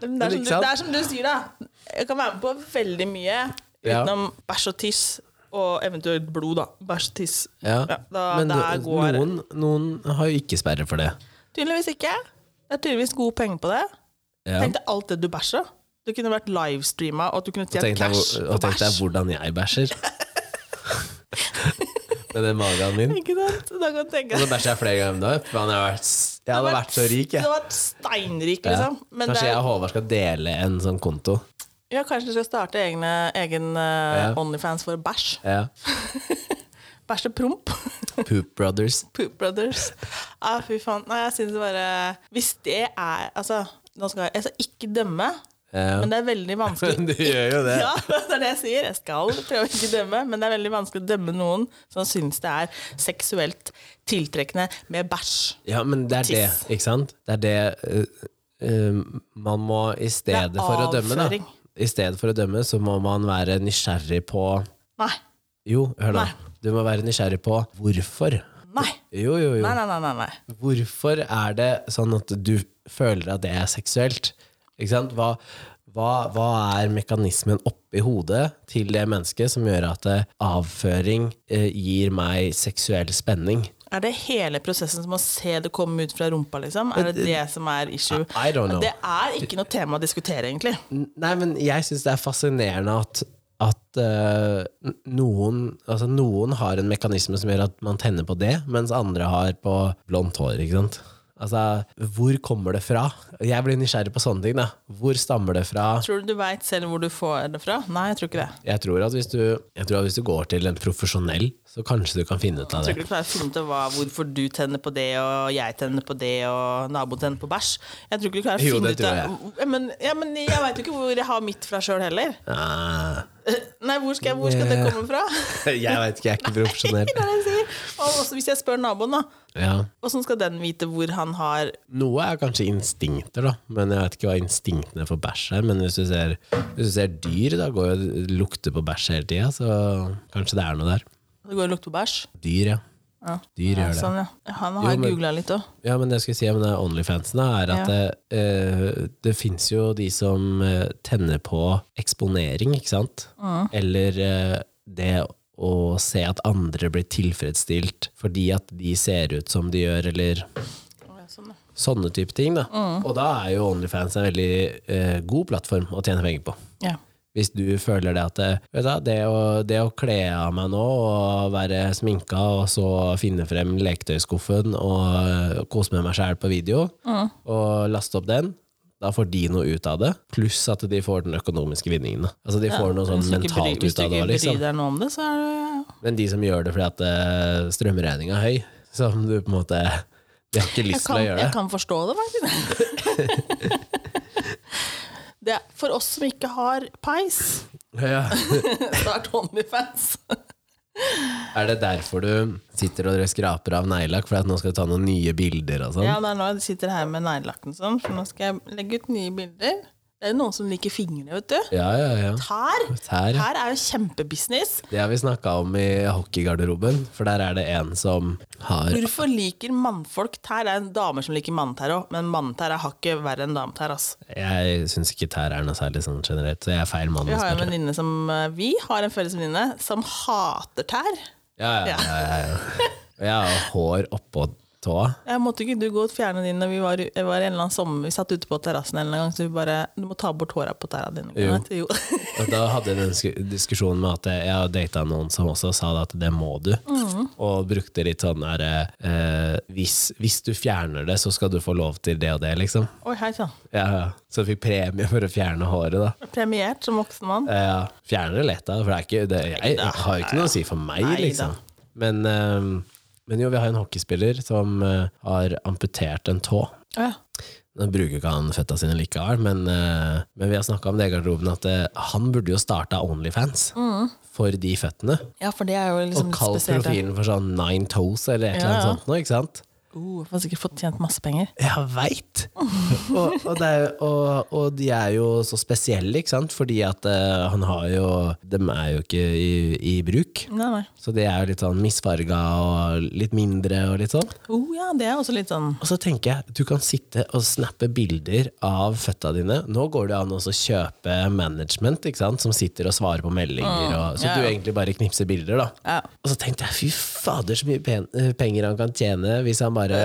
S2: Men Det er,
S1: ikke
S2: som du,
S1: sant?
S2: det er som du sier, da. Jeg kan være med på veldig mye
S1: Ja.
S2: utenom bæsj og tiss. Og eventuelt blod, da. Bæsj og tiss.
S1: Ja.
S2: da,
S1: men
S2: der
S1: no,
S2: går
S1: noen, noen har jo ikke sperre for det.
S2: Tydeligvis ikke. Det er tydeligvis gode penger på det.
S1: Ja.
S2: Tenk deg alt det du bæsja. Du kunne vært livestreama, og at du kunne
S1: Og
S2: tjent
S1: tenk deg,
S2: cash
S1: hvor-
S2: på
S1: og tenk deg
S2: bæsj.
S1: hvordan jeg bæsjer. Med den magen min.
S2: Ikke sant? Da kan du tenke
S1: Og så
S2: deg
S1: bæsjer jeg flere ganger om dagen. faen, Jeg, har vært s- Altså, jeg hadde vært så rik,
S2: Du
S1: jeg.
S2: hadde vært steinrik,
S1: Ja.
S2: liksom. Men det
S1: Kanskje
S2: er-
S1: jeg og Håvard skal dele en sånn konto.
S2: Ja, kanskje du skal starte egne, egen eh,
S1: Ja.
S2: Onlyfans for bæsj.
S1: Ja.
S2: Bæsj og promp.
S1: Poop Brothers.
S2: Poop Brothers. Ah, fy faen. Nei, jeg synes bare Hvis det er Altså, nå skal jeg, jeg skal ikke dømme,
S1: Ja.
S2: men det er veldig
S1: Men
S2: vanskelig
S1: du gjør jo det.
S2: Ja, det er det jeg sier. Jeg skal prøve å ikke dømme, men det er veldig vanskelig å dømme noen som syns det er seksuelt tiltrekkende med bæsj.
S1: Ja, men det er det,
S2: Tiss.
S1: ikke sant? Det er det eh, eh, man må i stedet
S2: Det er
S1: for å dømme, da.
S2: avføring.
S1: I stedet for å dømme, så må man være nysgjerrig på
S2: Nei.
S1: Jo, hør da.
S2: Nei.
S1: Du må være nysgjerrig på hvorfor.
S2: Nei.
S1: Jo, jo, jo.
S2: Nei, nei, nei. nei, nei.
S1: Hvorfor er det sånn at du føler at det er seksuelt? Ikke sant? Hva, Hva, hva er mekanismen oppi hodet til det mennesket som gjør at eh, avføring eh, gir meg seksuell spenning?
S2: Er det hele prosessen som å se det komme ut fra rumpa, liksom? Er det det som er issue?
S1: I don't know.
S2: Det er ikke noe tema å diskutere, egentlig.
S1: N- Nei, men jeg syns det er fascinerende at, at eh, n- noen, altså noen har en mekanisme som gjør at man tenner på det, mens andre har på blondt hår. ikke sant? Altså, Hvor kommer det fra? Jeg blir nysgjerrig på sånne ting. da. Hvor stammer det fra?
S2: Tror du du veit selv hvor du får det fra? Nei, jeg tror ikke det.
S1: Jeg tror, at hvis du, jeg tror at hvis du går til en profesjonell, så kanskje du kan finne ut av
S2: Jeg tror
S1: det.
S2: ikke du klarer å finne ut av hva- hvorfor du tenner på det, og jeg tenner på det, og naboen tenner på bæsj. Jeg tror ikke du klarer å
S1: Jo,
S2: finne
S1: det
S2: ut av ja, men, ja, men jeg veit jo ikke hvor jeg har mitt fra sjøl heller.
S1: Ah,
S2: Nei, hvor skal, hvor skal det
S1: Eh,
S2: komme fra?
S1: jeg veit ikke, jeg er ikke profesjonell.
S2: Det er det jeg sier. Og også hvis jeg spør naboen, da.
S1: Ja.
S2: Åssen skal den vite hvor han har
S1: Noe er kanskje instinkter, da. Men jeg vet ikke hva instinktene for bæsj er. Men hvis du ser, hvis du ser dyr, da går jo lukter på bæsj hele tida, så kanskje det er noe der.
S2: Det går og lukter bæsj.
S1: Dyr, ja.
S2: Ja.
S1: Dyr
S2: Ja,
S1: gjør det.
S2: sånn, ja. Han har
S1: Jo, men-
S2: googla litt òg.
S1: Ja, men det jeg skulle si om det Onlyfansen, da, er at det, eh, det fins jo de som eh, tenner på eksponering, ikke sant? Eller eh, det å se at andre blir tilfredsstilt fordi at de ser ut som de gjør, eller
S2: Sånn, ja.
S1: sånne type ting. Da. Og da er jo Onlyfans en veldig eh, god plattform å tjene penger på.
S2: ja.
S1: Hvis du føler det at det, vet du, hva, det, å, det å kle av meg nå og være sminka, og så finne frem leketøyskuffen og eh, kose med meg sjæl på video, og laste opp den da får de noe ut av det, pluss at de får den økonomiske vinningen. da. Altså De får noe sånn
S2: Hvis du ikke bryr-
S1: mentalt ut av det.
S2: Hvis du ikke
S1: Liksom.
S2: bryr deg noe om det, så er det
S1: Men de som gjør det fordi at eh, strømregninga er høy, som du på en måte De har ikke
S2: jeg
S1: lyst til
S2: kan,
S1: å gjøre det.
S2: jeg kan forstå det, faktisk. det er, for oss som ikke har peis,
S1: Ja.
S2: så er Tony-fans.
S1: Er det derfor du sitter og skraper av neglelakk fordi at nå skal du ta noen nye bilder og sånn?
S2: Ja, det er nå jeg sitter her med neglelakken sånn, så nå skal jeg legge ut nye bilder. Det er noen som liker fingre, vet du.
S1: Ja, ja, ja.
S2: Her,
S1: Tær.
S2: her er jo kjempebusiness.
S1: Det har vi snakka om i hockeygarderoben, for der er det en som har
S2: Hvorfor liker mannfolk tær? Det er damer som liker manntær òg, men manntær er hakket verre enn dametær. ass.
S1: Jeg syns ikke tær er noe særlig sånn generelt, så jeg er feil mann.
S2: Vi
S1: å
S2: har en
S1: spørre.
S2: venninne som eh, Vi har en felles venninne som hater tær.
S1: Ja, ja, ja, ja, ja. Og Jeg har hår oppå tåa.
S2: Jeg måtte ikke du gå og fjerne din når vi var, i- var i en eller annen sommer Vi satt ute på terrassen en eller annen gang, så vi bare Du må ta bort håra på tæra dine.
S1: Jo.
S2: Kenneth. Jo.
S1: Og da hadde jeg den sku- diskusjonen med at jeg har data noen som også sa det at det må du.
S2: Mm.
S1: Og brukte litt sånn der eh, hvis, hvis du fjerner det, så skal du få lov til det og det, liksom.
S2: Oi, hei sann.
S1: Ja, ja. Så jeg fikk premie for å fjerne håret, da.
S2: Premiert som voksen mann.
S1: Eh, Ja, fjerner det lett, da. For det er ikke, det, jeg har jo ikke noe å si for meg,
S2: Nei da.
S1: liksom. Men, eh, men jo, vi har en hockeyspiller som eh, har amputert en tå.
S2: Ja.
S1: Nå bruker ikke han føtta sine likevel, men, eh, men vi har snakka om det i garderoben at eh, han burde jo starta Onlyfans for de føttene.
S2: ja, for Mm. det er jo liksom
S1: Og
S2: litt
S1: kalt
S2: spesielt. ja.
S1: profilen for sånn Nine Toes eller et eller annet
S2: Ja, ja.
S1: sånt noe, ikke sant?
S2: Uh, får sikkert fått tjent masse penger.
S1: Jeg veit! Og, og, det er jo- og, og de er jo så spesielle, ikke sant? Fordi at eh, han har jo Dem er jo ikke i, i bruk.
S2: Nei, nei.
S1: Så de er jo litt sånn misfarga og litt mindre og litt sånn.
S2: Uh, ja, det er også litt sånn
S1: Og så tenker jeg, du kan sitte og snappe bilder av føtta dine. Nå går det an også å kjøpe management, ikke sant? som sitter og svarer på meldinger. Og, så
S2: ja,
S1: du
S2: ja.
S1: egentlig bare knipser bilder, da.
S2: ja.
S1: Og så tenkte jeg, fy fader, så mye pen eh, penger han kan tjene hvis han bare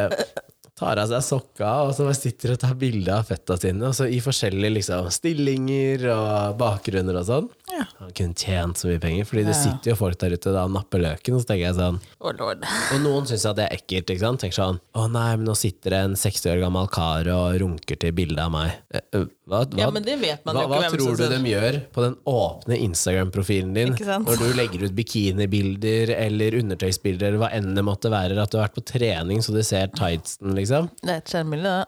S1: tar av seg sokka og så bare sitter og tar bilde av føtta sine. Og så i forskjellige liksom, stillinger og bakgrunner og sånn.
S2: Ja.
S1: Han kunne tjent så mye penger, fordi det sitter jo folk der ute da og napper løken. Og så tenker jeg sånn
S2: Å, Oh, lord.
S1: og noen syns at det er ekkelt. ikke sant? Tenker sånn Å nei, men nå sitter det en 60 år gammel kar og runker til bildet av meg. Eh, eh, Hva, hva,
S2: Ja, men det vet man
S1: hva,
S2: jo
S1: hva
S2: ikke hvem
S1: tror
S2: som
S1: du
S2: ser.
S1: de gjør på den åpne Instagram-profilen din
S2: Ikke sant?
S1: når du legger ut bikinibilder eller undertøysbilder eller hva enn det måtte være? At du har vært på trening så du ser tightsen, liksom?
S2: Det er et skjermbilde, det.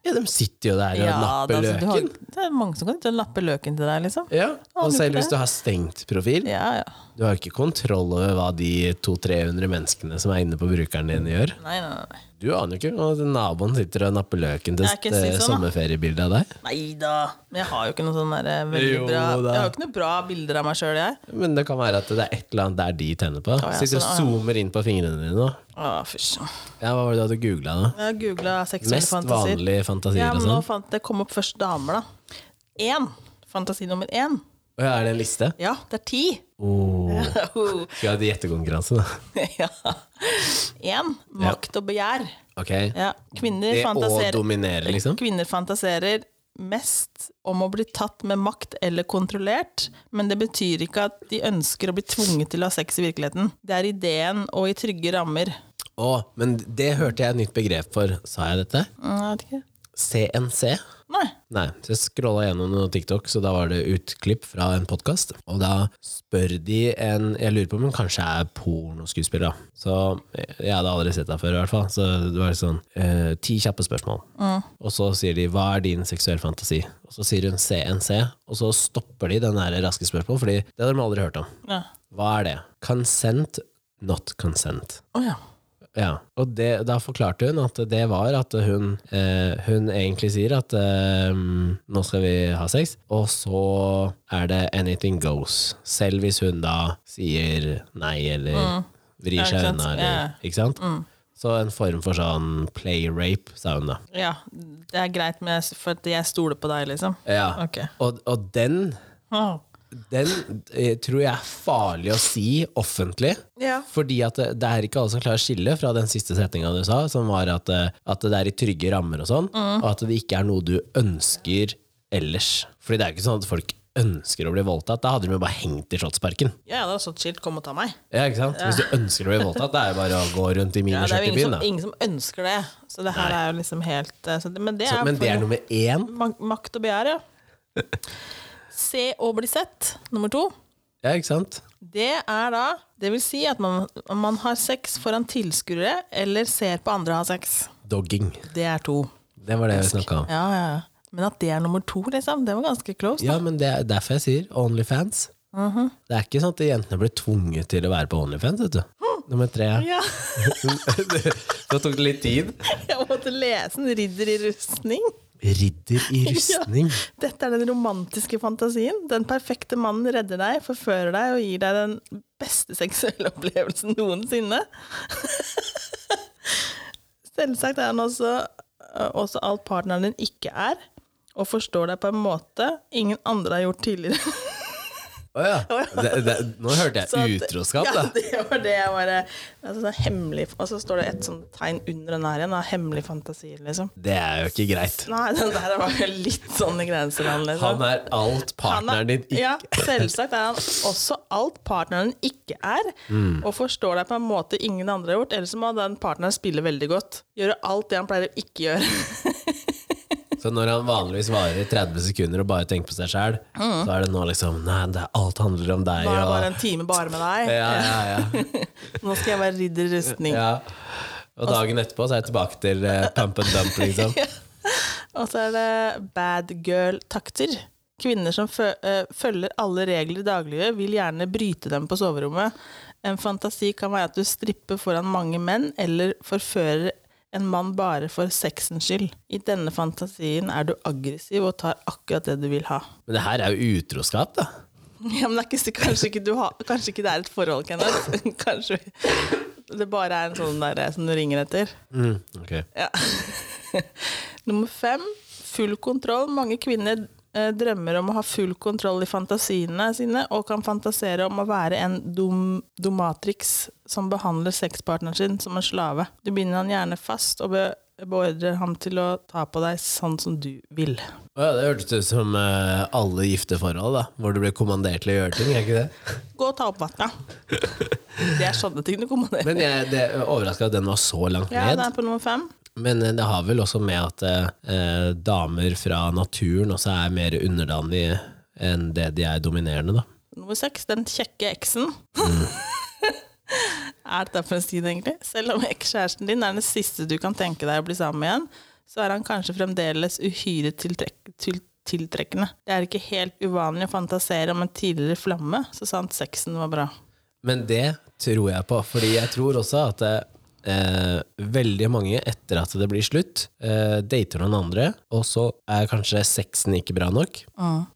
S1: Ja, de sitter jo der og
S2: Ja,
S1: napper
S2: da, altså, du
S1: løken.
S2: Har, det er mange som kan sitte og nappe løken til deg, liksom.
S1: Ja,
S2: Aner
S1: Og selv
S2: ikke
S1: hvis
S2: det.
S1: du har stengt profil,
S2: Ja, ja.
S1: du har ikke kontroll over hva de 200-300 menneskene som er inne på brukeren din, gjør.
S2: Nei, nei, nei.
S1: Du aner jo ikke at naboen sitter og napper løken til
S2: Det er ikke slik
S1: eh,
S2: sånn, da.
S1: sommerferiebildet av deg.
S2: Nei da. Men jeg har jo ikke noe sånn der veldig
S1: Jo
S2: bra
S1: da.
S2: Jeg har jo ikke noe bra bilder av meg sjøl, jeg.
S1: Men det kan være at det er et eller annet der de tenner på.
S2: ja,
S1: sitter og
S2: sånn,
S1: zoomer inn på fingrene dine nå.
S2: Å, fysj.
S1: Ja, Hva var det du hadde googla nå?
S2: Jeg har googla seksuelle
S1: Mest
S2: fantasier.
S1: vanlige fantasier
S2: Ja,
S1: og
S2: men nå
S1: sånn.
S2: fant det kom opp først damer, da. én. Fantasi nummer én.
S1: Og ja, er det en liste?
S2: Ja, det er ti.
S1: Oh. Skal vi ha gjettekonkurranse, da?
S2: ja. Én. Makt og begjær.
S1: Ok.
S2: Ja. Kvinner
S1: Det å
S2: fantaserer
S1: dominere, liksom?
S2: Kvinner fantaserer mest om å bli tatt med makt eller kontrollert, men det betyr ikke at de ønsker å bli tvunget til å ha sex i virkeligheten. Det er ideen og i trygge rammer.
S1: Å, men det hørte jeg et nytt begrep for. Sa jeg dette?
S2: Mm, Jeg vet ikke.
S1: CNC?
S2: Nei.
S1: Nei. Så jeg scrolla gjennom noe TikTok, så da var det utklipp fra en podkast. Og da spør de en Jeg lurer på om hun kanskje er pornoskuespiller, da. Så jeg hadde aldri sett deg før, i hvert fall. Så det var sånn eh, ti kjappe spørsmål. Og så sier de 'Hva er din seksuell fantasi?' Og så sier hun CNC, og så stopper de den der raske spørsmålet, fordi det hadde de aldri hørt om.
S2: Ja.
S1: Hva er det? Consent, not consent.
S2: Å ja.
S1: Ja, og det, da forklarte hun at det var at hun, eh, hun egentlig sier at eh, nå skal vi ha sex, og så er det anything goes. Selv hvis hun da sier nei eller vrir
S2: Mm. Ja, ikke
S1: seg
S2: sant?
S1: unna,
S2: Ja. Mm.
S1: eller, ikke sant? Så en form for sånn play rape, sa hun da.
S2: Ja, det er greit, men jeg- for at jeg stoler på deg, liksom.
S1: Ja.
S2: Ok.
S1: Og, og den,
S2: Wow.
S1: den eh, tror jeg er farlig å si offentlig.
S2: Ja.
S1: Fordi at det, det er ikke alle som klarer å skille fra den siste setninga du sa, som var at, eh, at det er i trygge rammer og sånn,
S2: Mm.
S1: og at det ikke er noe du ønsker ellers. Fordi det er ikke sånn at folk ønsker å bli voldtatt. Da hadde de jo bare hengt i Slottsparken.
S2: Ja, det er sånn skilt, kom og ta meg.
S1: Ja, ikke sant? Hvis du ønsker å bli voldtatt, det er jo bare å gå rundt i
S2: Ja, det
S1: miniskjørt
S2: er jo
S1: i
S2: ingen
S1: byen,
S2: som,
S1: da.
S2: ingen som ønsker det, så det her er jo liksom helt eh, så det, Men det er,
S1: Så, men det er
S2: for-
S1: nummer én.
S2: mak- makt og begjær, ja. Se og bli sett, nummer to.
S1: Ja, ikke sant?
S2: Det er da Det vil si at man, man har sex foran tilskuere eller ser på andre ha sex.
S1: Dogging.
S2: Det er to.
S1: Det var det vi snakka om.
S2: Ja, ja. ja. Men at det er nummer to, liksom, det var ganske close.
S1: Ja, men det er derfor jeg sier Onlyfans. Det er ikke sånn at jentene blir tvunget til å være på Onlyfans, vet du. Nummer tre.
S2: Ja.
S1: Det tok litt tid.
S2: Jeg måtte lese en ridder i rustning.
S1: Ridder i rustning.
S2: Dette er den romantiske fantasien. Den perfekte mannen redder deg, forfører deg og gir deg den beste seksuelle opplevelsen noensinne. Selvsagt er han også, eh, også alt partneren din ikke er, og forstår deg på en måte ingen andre har gjort tidligere.
S1: Å ja. Det, det, nå hørte
S2: Så
S1: jeg
S2: at-
S1: utroskap,
S2: ja,
S1: da.
S2: det var det jeg bare altså, sånn hemmelig, Og så står det et sånt tegn under den her igjen, da, hemmelig fantasi, liksom.
S1: Det er jo ikke greit.
S2: Nei, den der var jo litt sånn i grenseland, liksom.
S1: Han er alt partneren din
S2: Han er-
S1: ikke
S2: Ja, selvsagt er han også alt partneren ikke er,
S1: Mm.
S2: og forstår deg på en måte ingen andre har gjort, ellers må den partneren spille veldig godt. Gjøre alt det han pleier å ikke gjøre.
S1: Så når han vanligvis varer 30 sekunder og bare tenker på seg sjæl, så er det nå liksom Nei, det er alt handler om deg
S2: Nå er det Mm. bare
S1: og
S2: en time bare med deg.
S1: ja, ja, ja,
S2: Nå skal jeg være ridder i rustning.
S1: ja. Og dagen etterpå så er jeg tilbake til eh, pump and dump, liksom.
S2: Og så er det bad girl-takter. Kvinner som fø eh, følger alle regler i dagliglivet, vil gjerne bryte dem på soverommet. En fantasi kan være at du stripper foran mange menn, eller forfører en mann bare for sexens skyld. I denne fantasien er du aggressiv og tar akkurat det du vil ha.
S1: Men det her er jo utroskap, da.
S2: Ja, men det er ikke, så- kanskje, ikke du har, kanskje ikke det er et forhold, Kenneth. Kanskje det bare er en sånn derre som du ringer etter.
S1: Mm. ok.
S2: Nummer fem, full kontroll. Mange kvinner eh, drømmer om å ha full kontroll i fantasiene sine, og kan fantasere om å være en dom, domatrix som behandler sexpartneren sin som en slave. Du binder han gjerne fast og be beordrer ham til å ta på deg sånn som du vil.
S1: Å ja, det hørtes ut som eh, alle gifte forhold, da. Hvor du blir kommandert til å gjøre ting, er ikke det?
S2: Gå og ta opp vannet. Det er sånne ting du kommanderer.
S1: Men jeg det overraska at den var så langt
S2: Ja,
S1: ned.
S2: det er på nummer fem.
S1: Men eh, det har vel også med at eh, damer fra naturen også er mer underdanige enn det de er dominerende, da.
S2: Nummer seks, den kjekke eksen. Mm. er det derfor en stid, egentlig? Selv om ekskjæresten din er den siste du kan tenke deg å bli sammen med igjen, så er han kanskje fremdeles uhyre tiltrekk til tiltrekkende. Det er ikke helt uvanlig å fantasere om en tidligere flamme, så sant sexen var bra.
S1: Men det tror jeg på, fordi jeg tror også at eh, veldig mange etter at det blir slutt, eh, dater noen andre, og så er kanskje sexen ikke bra nok.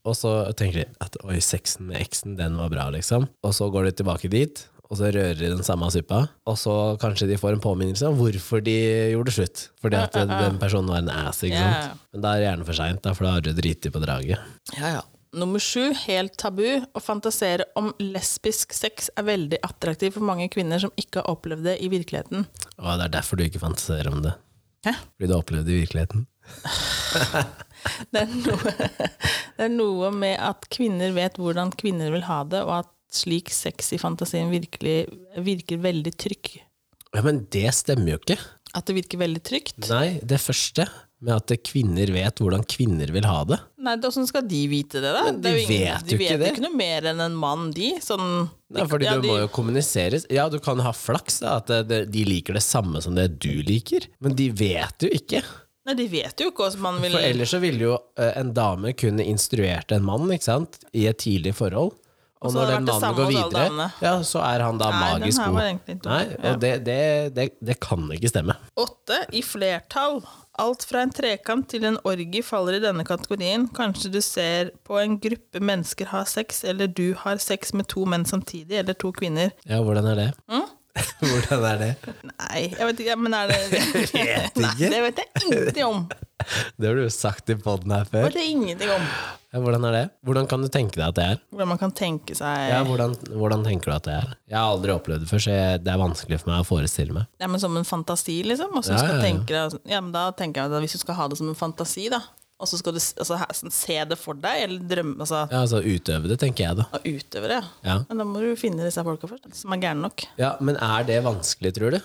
S1: Og så tenker de at oi, sexen med eksen, den var bra, liksom. Og så går de tilbake dit, og så rører de den samme suppa. Og så kanskje de får en påminnelse om hvorfor de gjorde slutt. Fordi at den- den personen var en ass, ikke
S2: Ja.
S1: sant. Men da er det gjerne for seint, da, for da har du driti på draget.
S2: Ja, ja. Nummer sju, helt tabu. Å fantasere om lesbisk sex er veldig attraktivt for mange kvinner som ikke har opplevd det i virkeligheten.
S1: Og det er derfor du ikke fantaserer om det.
S2: Hæ?
S1: Fordi du har opplevd det i virkeligheten.
S2: Det er, noe, det er noe med at kvinner vet hvordan kvinner vil ha det, og at slik sex i fantasien virkelig, virker veldig trygg.
S1: Ja, Men det stemmer jo ikke.
S2: At det virker veldig trygt.
S1: Nei, det første med at kvinner vet hvordan kvinner vil ha det.
S2: Nei, da- Åssen skal de vite det, da?
S1: Men
S2: Det
S1: de
S2: er jo ingen-
S1: vet
S2: de
S1: jo
S2: vet
S1: ikke
S2: jo
S1: det.
S2: ikke noe mer enn en mann, de. Sånn,
S1: Nei, fordi
S2: ja,
S1: det
S2: de-
S1: må jo kommuniseres. Ja, du kan ha flaks, da, at det- det- de liker det samme som det du liker. Men de vet jo ikke.
S2: Nei, de vet jo ikke hvordan man vil
S1: For ellers så ville jo eh, en dame kunne instruert en mann, ikke sant, i et tidlig forhold. Og
S2: Og så
S1: når
S2: har det vært
S1: den
S2: det
S1: mannen
S2: samme
S1: går
S2: hos alle
S1: videre,
S2: damene.
S1: ja, så er han da
S2: Nei, den
S1: magisk
S2: her
S1: god.
S2: var egentlig dum.
S1: Nei,
S2: Ja.
S1: og det, det, det, det kan ikke stemme.
S2: Åtte i flertall. Alt fra en trekant til en orgi faller i denne kategorien. Kanskje du ser på en gruppe mennesker har sex, eller du har sex med to menn samtidig, eller to kvinner.
S1: Ja, hvordan er det?
S2: Mm?
S1: hvordan er det?
S2: Nei, jeg vet ikke, men er det
S1: vet ikke.
S2: Nei, det vet jeg ingenting om.
S1: Det har du jo sagt i poden her
S2: Det
S1: før.
S2: vet jeg ingenting om.
S1: Ja, hvordan er det? Hvordan kan du tenke deg at det er?
S2: Hvordan man kan tenke seg
S1: Ja, hvordan, hvordan tenker du at det er? Jeg har aldri opplevd det før, så jeg, det er vanskelig for meg å forestille meg.
S2: Ja, men Som en fantasi, liksom? Og så
S1: Ja,
S2: skal
S1: ja, ja.
S2: tenke deg, ja, men da tenker jeg at Hvis du skal ha det som en fantasi, da, og så skal du s- altså, her- sånn, se det for deg, eller drømme altså,
S1: Ja, altså utøve det, tenker jeg da.
S2: av utøvere,
S1: Ja.
S2: Men da må du finne disse folka først, som er gærne nok.
S1: Ja, men er det vanskelig, tror du?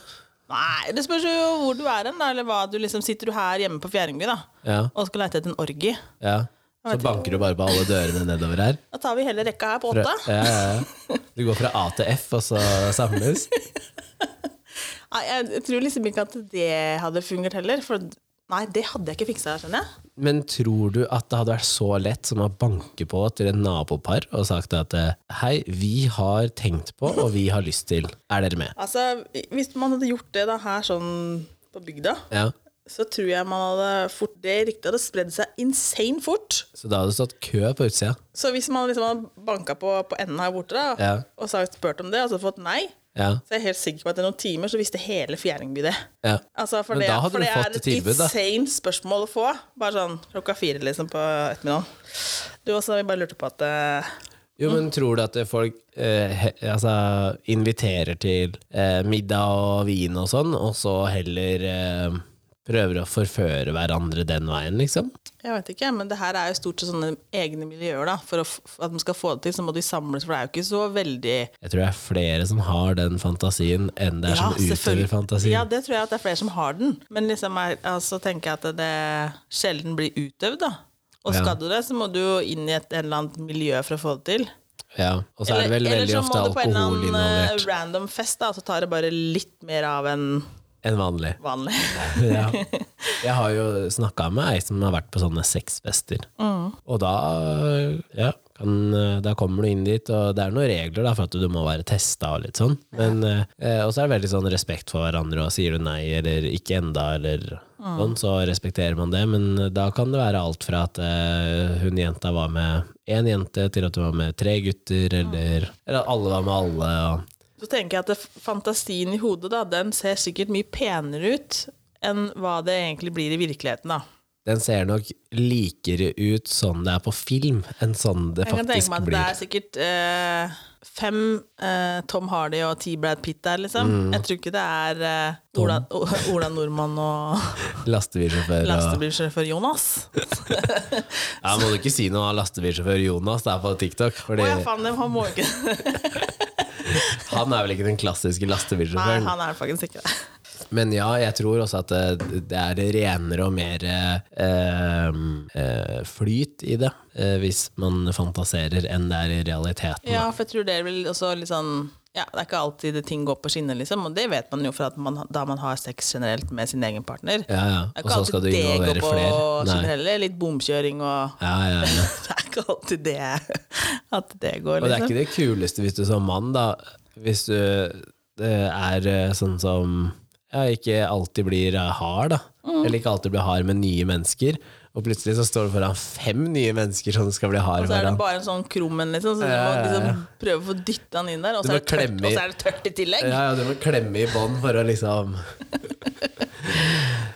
S2: Nei, det spørs jo hvor du er hen, da. Eller hva du liksom sitter du her hjemme på Fjerdingby, da.
S1: Ja,
S2: Og skal leite etter en orgi.
S1: ja. Så banker du bare på alle dørene nedover her.
S2: Da tar vi hele rekka her på
S1: Fra,
S2: åtte.
S1: ja, ja, ja. Du går fra A til F, og så samles.
S2: Nei, jeg tror liksom ikke at det hadde fungert heller. For nei, det hadde jeg ikke fiksa, skjønner jeg.
S1: Men tror du at det hadde vært så lett som å banke på til en nabopar og sagt at eh, hei, vi har tenkt på, og vi har lyst til. Er dere med?
S2: Altså, hvis man hadde gjort det da her sånn på bygda,
S1: Ja.
S2: så tror jeg man hadde fort Det riktig hadde spredd seg insane fort.
S1: Så da hadde det stått kø på utsida.
S2: Så hvis man liksom hadde banka på, på enden her borte da,
S1: Ja.
S2: og sagt, spurt om det, og så fått nei,
S1: Ja.
S2: så er jeg helt sikker på at i noen timer så visste hele Fjerdingby det.
S1: ja.
S2: Altså, for
S1: Men
S2: det,
S1: da hadde
S2: for
S1: du
S2: det
S1: fått
S2: er et
S1: tilbud, da.
S2: insane spørsmål å få. Bare sånn klokka fire liksom på ettermiddagen. Du også, vi bare lurte på at eh,
S1: Jo, men tror du at folk eh, he, altså, inviterer til eh, middag og vin og sånn, og så heller eh, prøver å forføre hverandre den veien, liksom?
S2: Jeg vet ikke, men det her er jo stort sett sånne egne miljøer, da. For å, f- for at de skal få det til, så må de samles, for det er jo ikke så veldig
S1: Jeg tror det er flere som har den fantasien enn det er som
S2: selvfølgelig.
S1: utøver fantasien.
S2: Ja, det tror jeg at det er flere som har den. Men liksom er, altså, tenker jeg at det sjelden blir utøvd, da. Og
S1: Ja.
S2: skal du det, så må du jo inn i et en eller annet miljø for å få det til.
S1: Ja, og så er det vel
S2: Eller- eller
S1: veldig
S2: så
S1: ofte
S2: må du på en eller
S1: alkohol
S2: annen, eh,
S1: involvert
S2: Random fest, da, og så tar det bare litt mer av enn
S1: enn vanlig.
S2: vanlig.
S1: Ja. Jeg har jo snakka med ei som har vært på sånne sexfester. Og da, ja, kan, eh, da kommer du inn dit, og det er noen regler da, for at du må være testa og litt sånn. Men, eh, og så er det veldig sånn respekt for hverandre, og sier du nei eller ikke enda, eller sånn, så respekterer man det. Men da kan det være alt fra at eh, hun jenta var med én jente, til at hun var med tre gutter, eller, eller at alle var med alle. og
S2: Så tenker jeg at det, fantasien i hodet da, den ser sikkert mye penere ut enn hva det egentlig blir i virkeligheten. da.
S1: den ser nok likere ut sånn det er på film, enn sånn det
S2: Jeg kan tenke
S1: faktisk
S2: meg at det
S1: blir.
S2: er sikkert eh, fem eh, Tom Hardy og ti Brad Pitt der, liksom.
S1: Mm.
S2: Jeg tror ikke det er eh, Ola, O- Ola Nordmann og
S1: Lastebilsjåfør og
S2: lastebilsjåfør Jonas.
S1: ja, Må du ikke si noe av lastebilsjåfør Jonas der på TikTok?
S2: Å
S1: Fordi
S2: ja, faen, det- han må jo ikke
S1: han er vel ikke den klassiske
S2: Nei,
S1: lastebilsjåføren.
S2: han er faktisk ikke det.
S1: Men ja, jeg tror også at det, det er renere og mer eh, eh, flyt i det, eh, hvis man fantaserer, enn det er i realiteten.
S2: Ja, for jeg tror det er vel også litt sånn ja, Det er ikke alltid det ting går på skinner, liksom. Og det vet man jo fra at man, da man har sex generelt med sin egen partner.
S1: Ja, ja.
S2: Det er
S1: Og
S2: ikke
S1: så skal du
S2: alltid det
S1: involvere
S2: går på
S1: flere.
S2: skinner
S1: Nei.
S2: heller. Litt bomkjøring og
S1: Ja, ja, ja.
S2: Det er ikke alltid det at det går,
S1: Og det er
S2: liksom.
S1: ikke det kuleste hvis du som mann, da, hvis du eh, er eh, sånn som ja, ikke alltid blir eh, hard, da.
S2: Mm.
S1: Eller ikke alltid bli hard med nye mennesker. Og plutselig så står du foran fem nye mennesker som du skal bli hard
S2: Og så er det
S1: foran.
S2: bare en sånn krum en, liksom, så du
S1: Ja,
S2: må
S1: ja, ja.
S2: liksom prøve å få dytta den inn der. Og
S1: Du
S2: så
S1: må
S2: er det tørt,
S1: klemme i-
S2: og så er det tørt i tillegg.
S1: Ja, ja, du må klemme i bånd for å liksom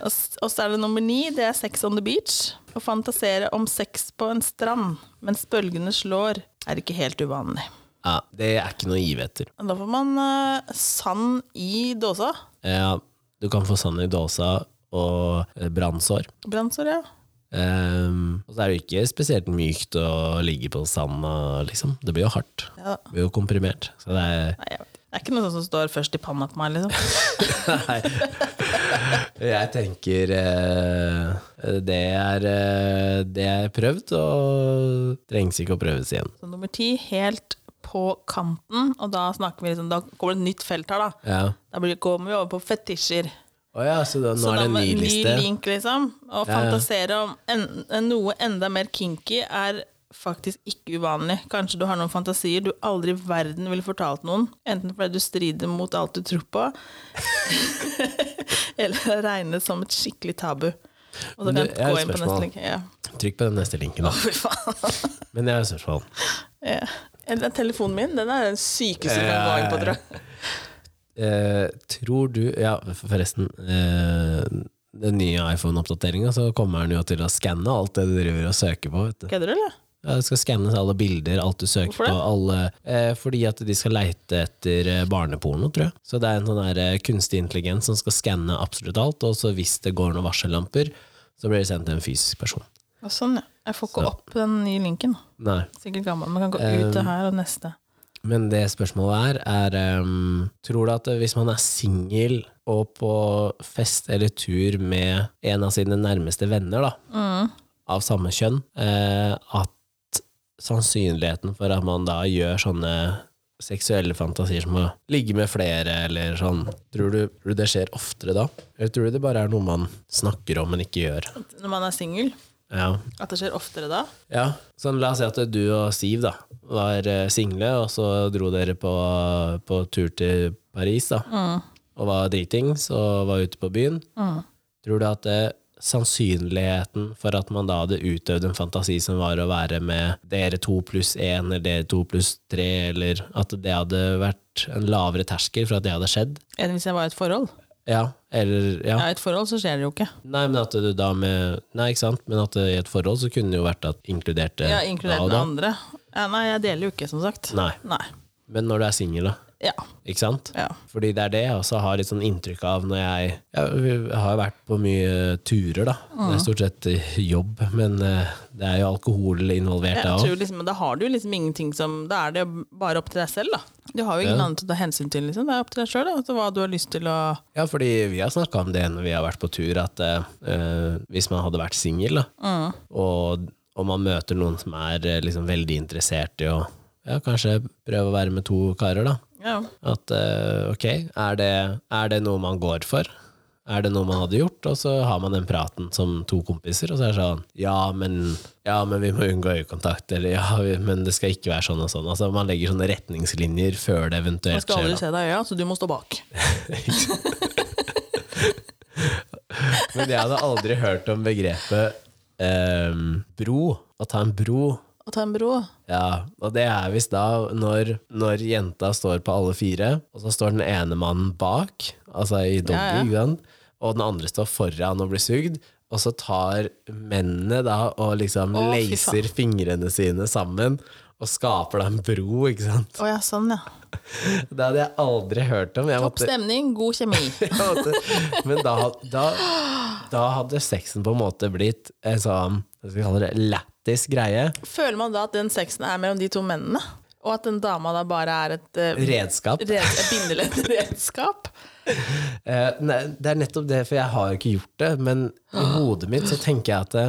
S2: Og s- og så er det nummer ni, det er sex on the beach. Å fantasere om sex på en strand mens bølgene slår, er ikke helt uvanlig.
S1: Ja, det er ikke noe å give etter.
S2: Da får man eh, sand i dåsa.
S1: Ja, du kan få sand i dåsa og eh, brannsår.
S2: Brannsår, ja.
S1: Ehm, og så er det jo ikke spesielt mykt å ligge på sanda, liksom. Det blir jo hardt.
S2: ja.
S1: Det blir jo komprimert. Så det er
S2: Nei, jeg vet ikke. Det er ikke noe sånt som står først i panna på meg, liksom.
S1: Nei. Jeg tenker eh, det er eh, det er prøvd, og trengs ikke å prøves igjen.
S2: Så nummer ti, helt på kanten. Og da snakker vi liksom, da kommer det et nytt felt her, da.
S1: Ja.
S2: Da blir, kommer vi over på fetisjer.
S1: Å ja, så da, nå
S2: Så
S1: er det
S2: da
S1: en
S2: må-
S1: ny liste.
S2: link, liksom. Å
S1: ja.
S2: fantasere om en, en, noe enda mer kinky er faktisk ikke uvanlig. Kanskje du har noen fantasier du aldri i verden ville fortalt noen. Enten fordi du strider mot alt du tror på, eller regnes som et skikkelig tabu. Og så
S1: Men
S2: kan
S1: du,
S2: jeg
S1: jeg har
S2: gå
S1: et
S2: inn på
S1: spørsmål.
S2: neste link. Ja.
S1: Trykk på den neste linken, da.
S2: Fy faen.
S1: Men jeg har et spørsmål.
S2: Ja. Eller den Telefonen min den er den sykeste du kan
S1: Ja,
S2: gå
S1: ja,
S2: inn
S1: ja.
S2: på, tror jeg.
S1: Eh, tror du Ja, forresten. eh, den nye iPhone-oppdateringa, så kommer den jo til å skanne alt det du driver og søker på. Vet du.
S2: Kødder du, eller?
S1: Ja, det skal skannes alle bilder, alt du søker
S2: Hvorfor det?
S1: på. Alle, eh, fordi at de skal leite etter eh, barneporno, tror jeg. Så det er en sånn der, eh, kunstig intelligens som skal skanne absolutt alt, og så hvis det går noen varsellamper, så blir det sendt til en fysisk person.
S2: Ja, Sånn, ja. Jeg får ikke
S1: Så. Um,
S2: opp den nye linken.
S1: Nei.
S2: Sikkert gammel. Man kan gå ut det her og neste.
S1: Men det spørsmålet er, er ehm, Tror du at hvis man er singel og på fest eller tur med en av sine nærmeste venner, da, av samme kjønn, eh, at sannsynligheten for at man da gjør sånne seksuelle fantasier som å ligge med flere eller sånn, tror du, tror du det skjer oftere da? Eller tror du det bare er noe man snakker om, men ikke gjør?
S2: Når man er singel,
S1: Ja.
S2: at det skjer oftere da.
S1: Ja, sånn, La oss si at du og Siv da var eh, single, og så dro dere på, på tur til Paris. da Og var dritings og var ute på byen. Tror du at eh, sannsynligheten for at man da hadde utøvd en fantasi som var å være med dere to pluss én eller dere to pluss tre, eller at det hadde vært en lavere terskel for at det hadde skjedd?
S2: Enn hvis jeg var i et forhold.
S1: Ja, eller ja.
S2: Er jeg i et forhold, så skjer det jo ikke.
S1: Nei, men at du da med Nei, ikke sant, men at eh, i et forhold så kunne det jo vært at inkluderte
S2: Jeg har inkludert
S1: da og
S2: med
S1: da.
S2: andre. Ja, nei, jeg deler jo ikke, som sagt.
S1: Nei.
S2: Nei.
S1: Men når du er singel, da.
S2: Ja.
S1: Ikke sant?
S2: ja.
S1: Fordi det er det jeg også har litt sånn inntrykk av når jeg ja, Jeg har jo vært på mye turer, da. Det er stort sett eh, jobb, men eh, det er jo alkohol involvert
S2: Jeg
S1: da òg.
S2: tror liksom, da har du jo liksom ingenting som Da er det jo bare opp til deg selv, da. Du har jo ingen andre til å ta hensyn til, liksom. Det er opp til deg sjøl, da. Altså, hva du har lyst til å
S1: Ja, fordi vi har snakka om det når vi har vært på tur, at eh, eh, hvis man hadde vært singel, da, og, og man møter noen som er eh, liksom veldig interessert i å ja, kanskje prøve å være med to karer, da.
S2: Ja.
S1: At eh, ok, er det, er det noe man går for? Er det noe man hadde gjort? Og så har man den praten som to kompiser, og så er det sånn Ja, men, ja, men vi må unngå øyekontakt, eller ja, vi, men det skal ikke være sånn og sånn. Altså, man legger sånne retningslinjer før det
S2: Jeg
S1: eventuelt
S2: skal
S1: skjer.
S2: aldri
S1: da.
S2: se deg i øya, så du må stå bak.
S1: Men jeg hadde aldri hørt om begrepet ehm, bro. Å ta en bro.
S2: Og ta en bro.
S1: Ja, og det er visst da når, når jenta står på alle fire, og så står den ene mannen bak, altså i doggy,
S2: Ja, ja.
S1: ikke sant? og den andre står foran og blir sugd, og så tar mennene da og liksom
S2: Å, fy faen.
S1: leiser fingrene sine sammen, og skaper da en bro, ikke sant?
S2: Å ja, sånn, ja.
S1: Det hadde jeg aldri hørt om. Jeg
S2: Topp
S1: måtte,
S2: stemning, god kjemi.
S1: jeg måtte, men da, da, da hadde sexen på en måte blitt en sånn, hva skal vi kalle det, lættis greie,
S2: Føler man da at den sexen er mellom de to mennene? Og at den dama da bare er et eh,
S1: redskap.
S2: red- et bindeleddredskap?
S1: Eh, nei, det er nettopp det, for jeg har jo ikke gjort det. Men i hodet mitt så tenker jeg at det,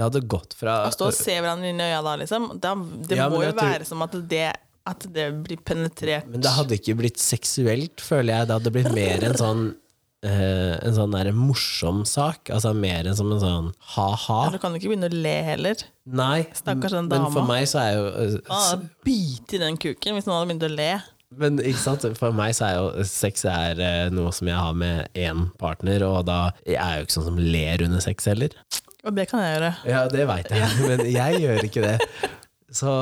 S1: det hadde gått fra
S2: Å stå og se hverandre inn i øya da, liksom. Da, det
S1: Ja, men
S2: må jo
S1: jeg tror-
S2: være som at det, at det blir penetrert.
S1: Men det hadde ikke blitt seksuelt, føler jeg. Det hadde blitt mer en sånn eh, En sånn der morsom sak. Altså mer enn som en sånn ha-ha.
S2: Du kan jo ikke begynne å le heller.
S1: Nei.
S2: Stakkars den
S1: Men
S2: dama.
S1: for meg så er jo eh,
S2: Ah, bit i den kuken hvis noen hadde begynt å le.
S1: Men ikke sant? for meg så er jo sex er eh, noe som jeg har med én partner, og da jeg er jo ikke sånn som ler under sex heller.
S2: Og det kan jeg gjøre.
S1: Ja, det veit jeg, men jeg gjør ikke det. Så,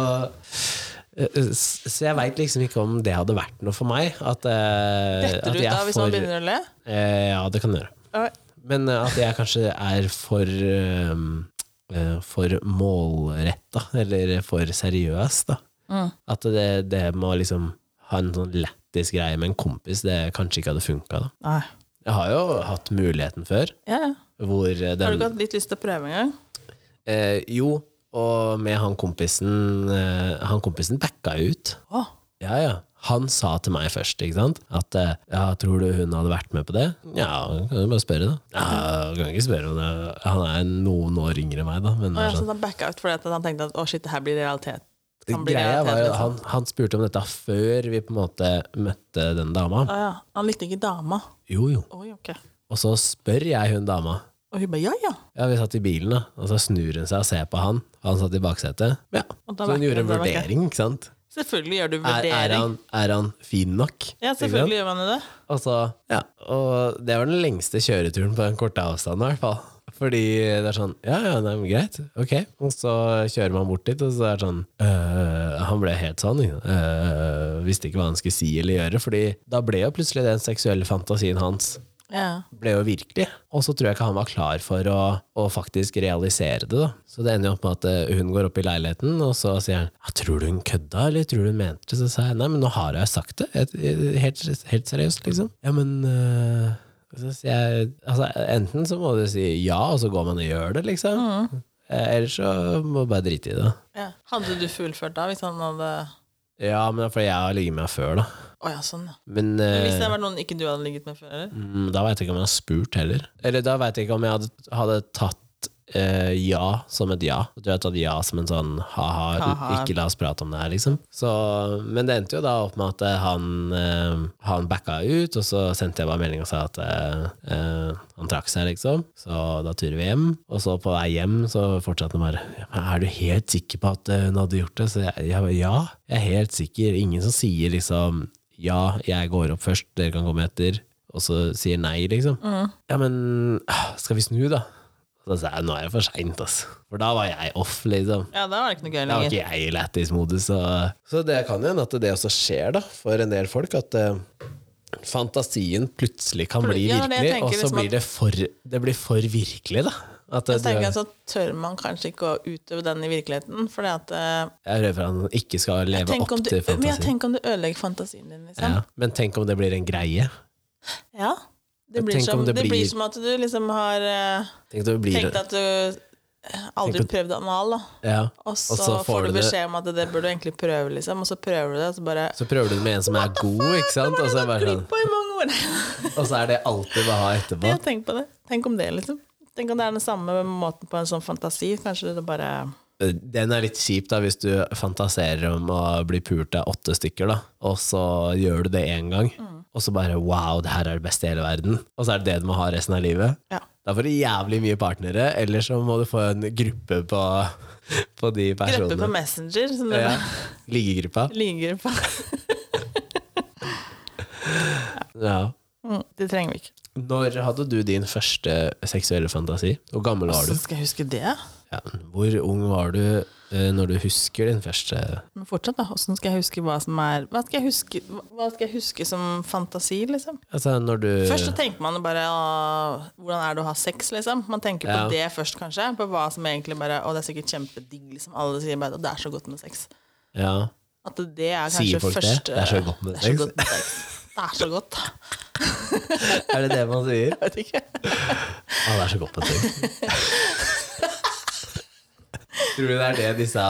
S1: eh, så jeg veit liksom ikke om det hadde vært noe for meg. At, eh,
S2: Detter
S1: at
S2: du ut
S1: jeg
S2: da hvis
S1: får-
S2: man begynner å le?
S1: Eh, ja, det kan det gjøre.
S2: Ja,
S1: Men eh, at jeg kanskje er for um, eh, For målretta, eller for seriøs, da.
S2: Mm.
S1: At det, det må liksom ha en sånn lættis greie med en kompis, det kanskje ikke hadde funka, da.
S2: Nei.
S1: Jeg har jo hatt muligheten før,
S2: Ja, ja.
S1: hvor eh,
S2: Har du
S1: den
S2: ikke hatt litt lyst til å prøve en gang?
S1: eh, Jo, og med han kompisen eh, Han kompisen backa jo ut.
S2: Åh,
S1: Ja, ja. Han sa til meg først ikke sant? at eh, ja, tror du hun hadde vært med på det? Ja, kan du bare spørre, da. Ja, kan ikke spørre om det. Han er noen år yngre enn meg, da. Men
S2: Å,
S1: det
S2: ja,
S1: er
S2: så
S1: sånn.
S2: han backa ut fordi at han tenkte at å shit, det her blir realitet. Kan bli
S1: Greia var
S2: realitet,
S1: jo
S2: liksom.
S1: han, han spurte om dette før vi på en måte møtte den dama.
S2: Å, ja. Han likte ikke dama.
S1: Jo, jo.
S2: Oi, ok.
S1: Og så spør jeg hun dama.
S2: Og hun bare ja, ja.
S1: Ja, Vi satt i bilen, da. Og så snur hun seg og ser på han. Han satt i baksetet. Ja.
S2: Og da
S1: Så hun
S2: backer
S1: gjorde en
S2: hun, da backer.
S1: vurdering, ikke sant.
S2: Selvfølgelig gjør du
S1: Er,
S2: vurdering.
S1: er, han, er han fin nok? Ikke
S2: Ja,
S1: sant?
S2: selvfølgelig gjør man jo det.
S1: Og, så, ja, og det var den lengste kjøreturen på den korte avstanden, i hvert fall. Fordi det er sånn Ja, ja, nei, men greit. Ok. Og så kjører man bort dit, og så er det sånn øh, Han ble helt sånn. ikke sant? Øh, visste ikke hva han skulle si eller gjøre. Fordi da ble jo plutselig den seksuelle fantasien hans
S2: Ja.
S1: ble jo virkelig. Og så tror jeg ikke han var klar for å, å faktisk realisere det. da. Så det ender jo opp med at eh, hun går opp i leiligheten, og så sier han ja, 'Tror du hun kødda, eller tror du hun mente det?' Så sa jeg 'Nei, men nå har jeg sagt det. Jeg- jeg- Helt, helt seriøst, liksom'. Ja, men eh, så sier jeg, altså, Enten så må du si ja, og så går man og gjør det, liksom.
S2: Mm.
S1: Eh, Eller så må du bare drite i det.
S2: ja. Hadde du fullført da, hvis han hadde
S1: Ja, men det er fordi jeg har ligget med henne før, da.
S2: Å ja, sånn, ja.
S1: Men,
S2: Men
S1: eh,
S2: hvis det var noen ikke du hadde ligget med før, eller?
S1: Mm, Da veit jeg ikke om jeg har spurt heller. Eller da veit jeg ikke om jeg hadde, hadde tatt eh, ja som et ja. Du har tatt ja som en sånn ha-ha,
S2: Ha-ha.
S1: ikke la oss prate om det her, liksom. Så, men det endte jo da opp med at eh, han, eh, han backa ut, og så sendte jeg bare melding og sa at eh, eh, han trakk seg, liksom. Så da turer vi hjem. Og så på vei hjem så fortsatte han bare «Ja, men Er du helt sikker på at eh, hun hadde gjort det? Så jeg, jeg bare ja, jeg er helt sikker. Ingen som sier liksom ja, jeg går opp først, dere kan komme etter og så sier nei, liksom. Ja, men ah, skal vi snu, da? Og da sa jeg nå er det for seint, ass. For da var jeg off, liksom.
S2: Ja, da var det ikke noe gøy
S1: Da var
S2: lenger.
S1: ikke jeg i lættis-modus. Så. så det kan jo hende at det også skjer, da, for en del folk, at eh, fantasien plutselig kan bli
S2: Ja, det
S1: virkelig, og
S2: tenker
S1: så
S2: liksom at-
S1: blir det for Det blir for virkelig, da. At eh,
S2: Jeg tenker at
S1: du,
S2: så tør man kanskje ikke å utøve den i virkeligheten, fordi at eh,
S1: jeg er redd for at han ikke skal leve
S2: tenk
S1: opp
S2: om, du,
S1: til
S2: men jeg
S1: fantasien.
S2: tenker om du ødelegger fantasien din, liksom.
S1: Ja. Men tenk om det blir en greie.
S2: Ja. Det, blir
S1: Tenk
S2: som,
S1: om
S2: det,
S1: det
S2: blir
S1: blir-
S2: som at du liksom har eh,
S1: Tenk om det blir
S2: tenkt at du eh, aldri
S1: Tenk
S2: prøvd anal, da.
S1: ja.
S2: Og så,
S1: så
S2: får du
S1: det-
S2: beskjed om at det bør du egentlig prøve, liksom. Og så prøver du det, og så bare
S1: Så prøver du det med en som er god, ikke sant? Og så, er det bare sånn,
S2: På i mange år!
S1: og så er det alt du vil ha etterpå.
S2: Ja, tenk på det. Tenk om det, liksom. Tenk om det er den samme måten på en sånn fantasi. Kanskje det bare
S1: Eh, Den er litt kjip da hvis du fantaserer om å bli pult av åtte stykker, da, og så gjør du det én gang,
S2: Mm.
S1: og så bare wow, det her er det beste i hele verden, og så er det det du må ha resten av livet.
S2: Ja.
S1: Da får du jævlig mye partnere, eller så må du få en gruppe på, på de
S2: Gruppe på
S1: personene.
S2: Messenger, som det
S1: Ja,
S2: ja.
S1: Liggegruppa.
S2: ligger på.
S1: Ja.
S2: Mm, det trenger vi ikke.
S1: Når hadde du din første seksuelle fantasi? Hvor gammel var
S2: Så
S1: du?
S2: skal jeg huske det.
S1: Ja. Hvor ung var du eh, når du husker din første
S2: Men fortsatt, da. Åssen skal jeg huske hva som er Hva skal jeg huske, hva skal jeg huske som fantasi, liksom?
S1: Altså når du
S2: Først så tenker man jo bare «Åh, Hvordan er det å ha sex, liksom? Man tenker på
S1: Ja.
S2: det først, kanskje. På hva som egentlig bare Å, det er sikkert kjempedigg, liksom. Alle sier bare at det er så godt med sex.
S1: Ja.
S2: At det er kanskje
S1: Sier folk det?
S2: første
S1: Det er så godt med
S2: Det er
S1: sex.
S2: så godt. Med sex. Det er så godt.
S1: Er det det man sier?
S2: Jeg vet ikke.
S1: Ah, det er så godt på ting. Tror du det er det disse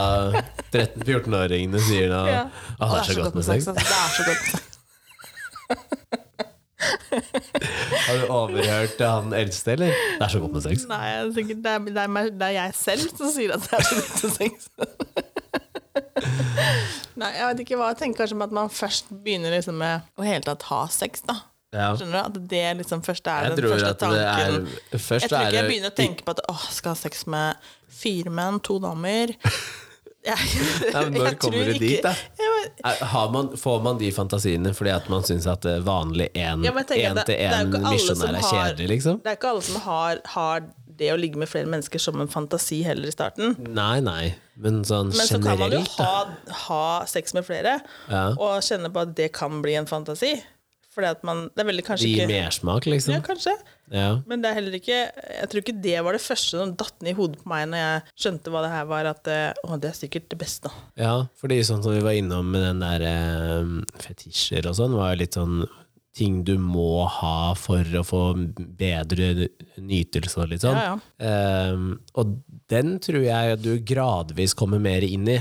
S1: 13-14-åringene sier nå?
S2: Ja.
S1: Ah, det er så godt med sex.
S2: altså. Det er så godt med sex.
S1: Har du overhørt han eldste, eller? Det er så godt med sex.
S2: Nei, jeg er sikkert, det, er, det, er, meg- det er jeg selv som sier at det er så godt med sex. Nei, jeg vet ikke hva jeg tenker kanskje med at man først begynner liksom med å hele tatt ha sex, da.
S1: Ja.
S2: Skjønner du? At det liksom først er
S1: Jeg
S2: den
S1: tror
S2: første
S1: at det er
S2: tanken.
S1: Først
S2: Jeg tror
S1: er
S2: ikke jeg
S1: det
S2: begynner å tenke på at åh, skal ha sex med fire menn, to damer. Jeg,
S1: Ja, men når kommer du dit, da?
S2: Ja, men,
S1: Er- Har man, får man de fantasiene fordi at man syns at eh, vanlig én
S2: Ja, men jeg tenker at det- det er jo ikke alle som
S1: én-misjonær er
S2: har-
S1: kjedelig, liksom?
S2: Det er ikke alle som har, har det å ligge med flere mennesker som en fantasi heller i starten.
S1: Nei, nei, men sånn
S2: Men så kan man jo
S1: generelt, da.
S2: ha, ha sex med flere
S1: Ja.
S2: og kjenne på at det kan bli en fantasi. Fordi at man Det er veldig
S1: Det
S2: kanskje
S1: gir
S2: ikke
S1: mersmak,
S2: ja,
S1: liksom.
S2: kanskje.
S1: Ja.
S2: Men det er heller ikke Jeg tror ikke det var det første som datt ned i hodet på meg når jeg skjønte hva det her var, at eh, å, det er sikkert det beste.
S1: Ja, fordi sånn som vi var innom med den der eh, fetisjer og sånn, var jo litt sånn ting du må ha for å få bedre nytelse og litt sånn.
S2: Ja, ja.
S1: Ehm, og den tror jeg at du gradvis kommer mer inn i.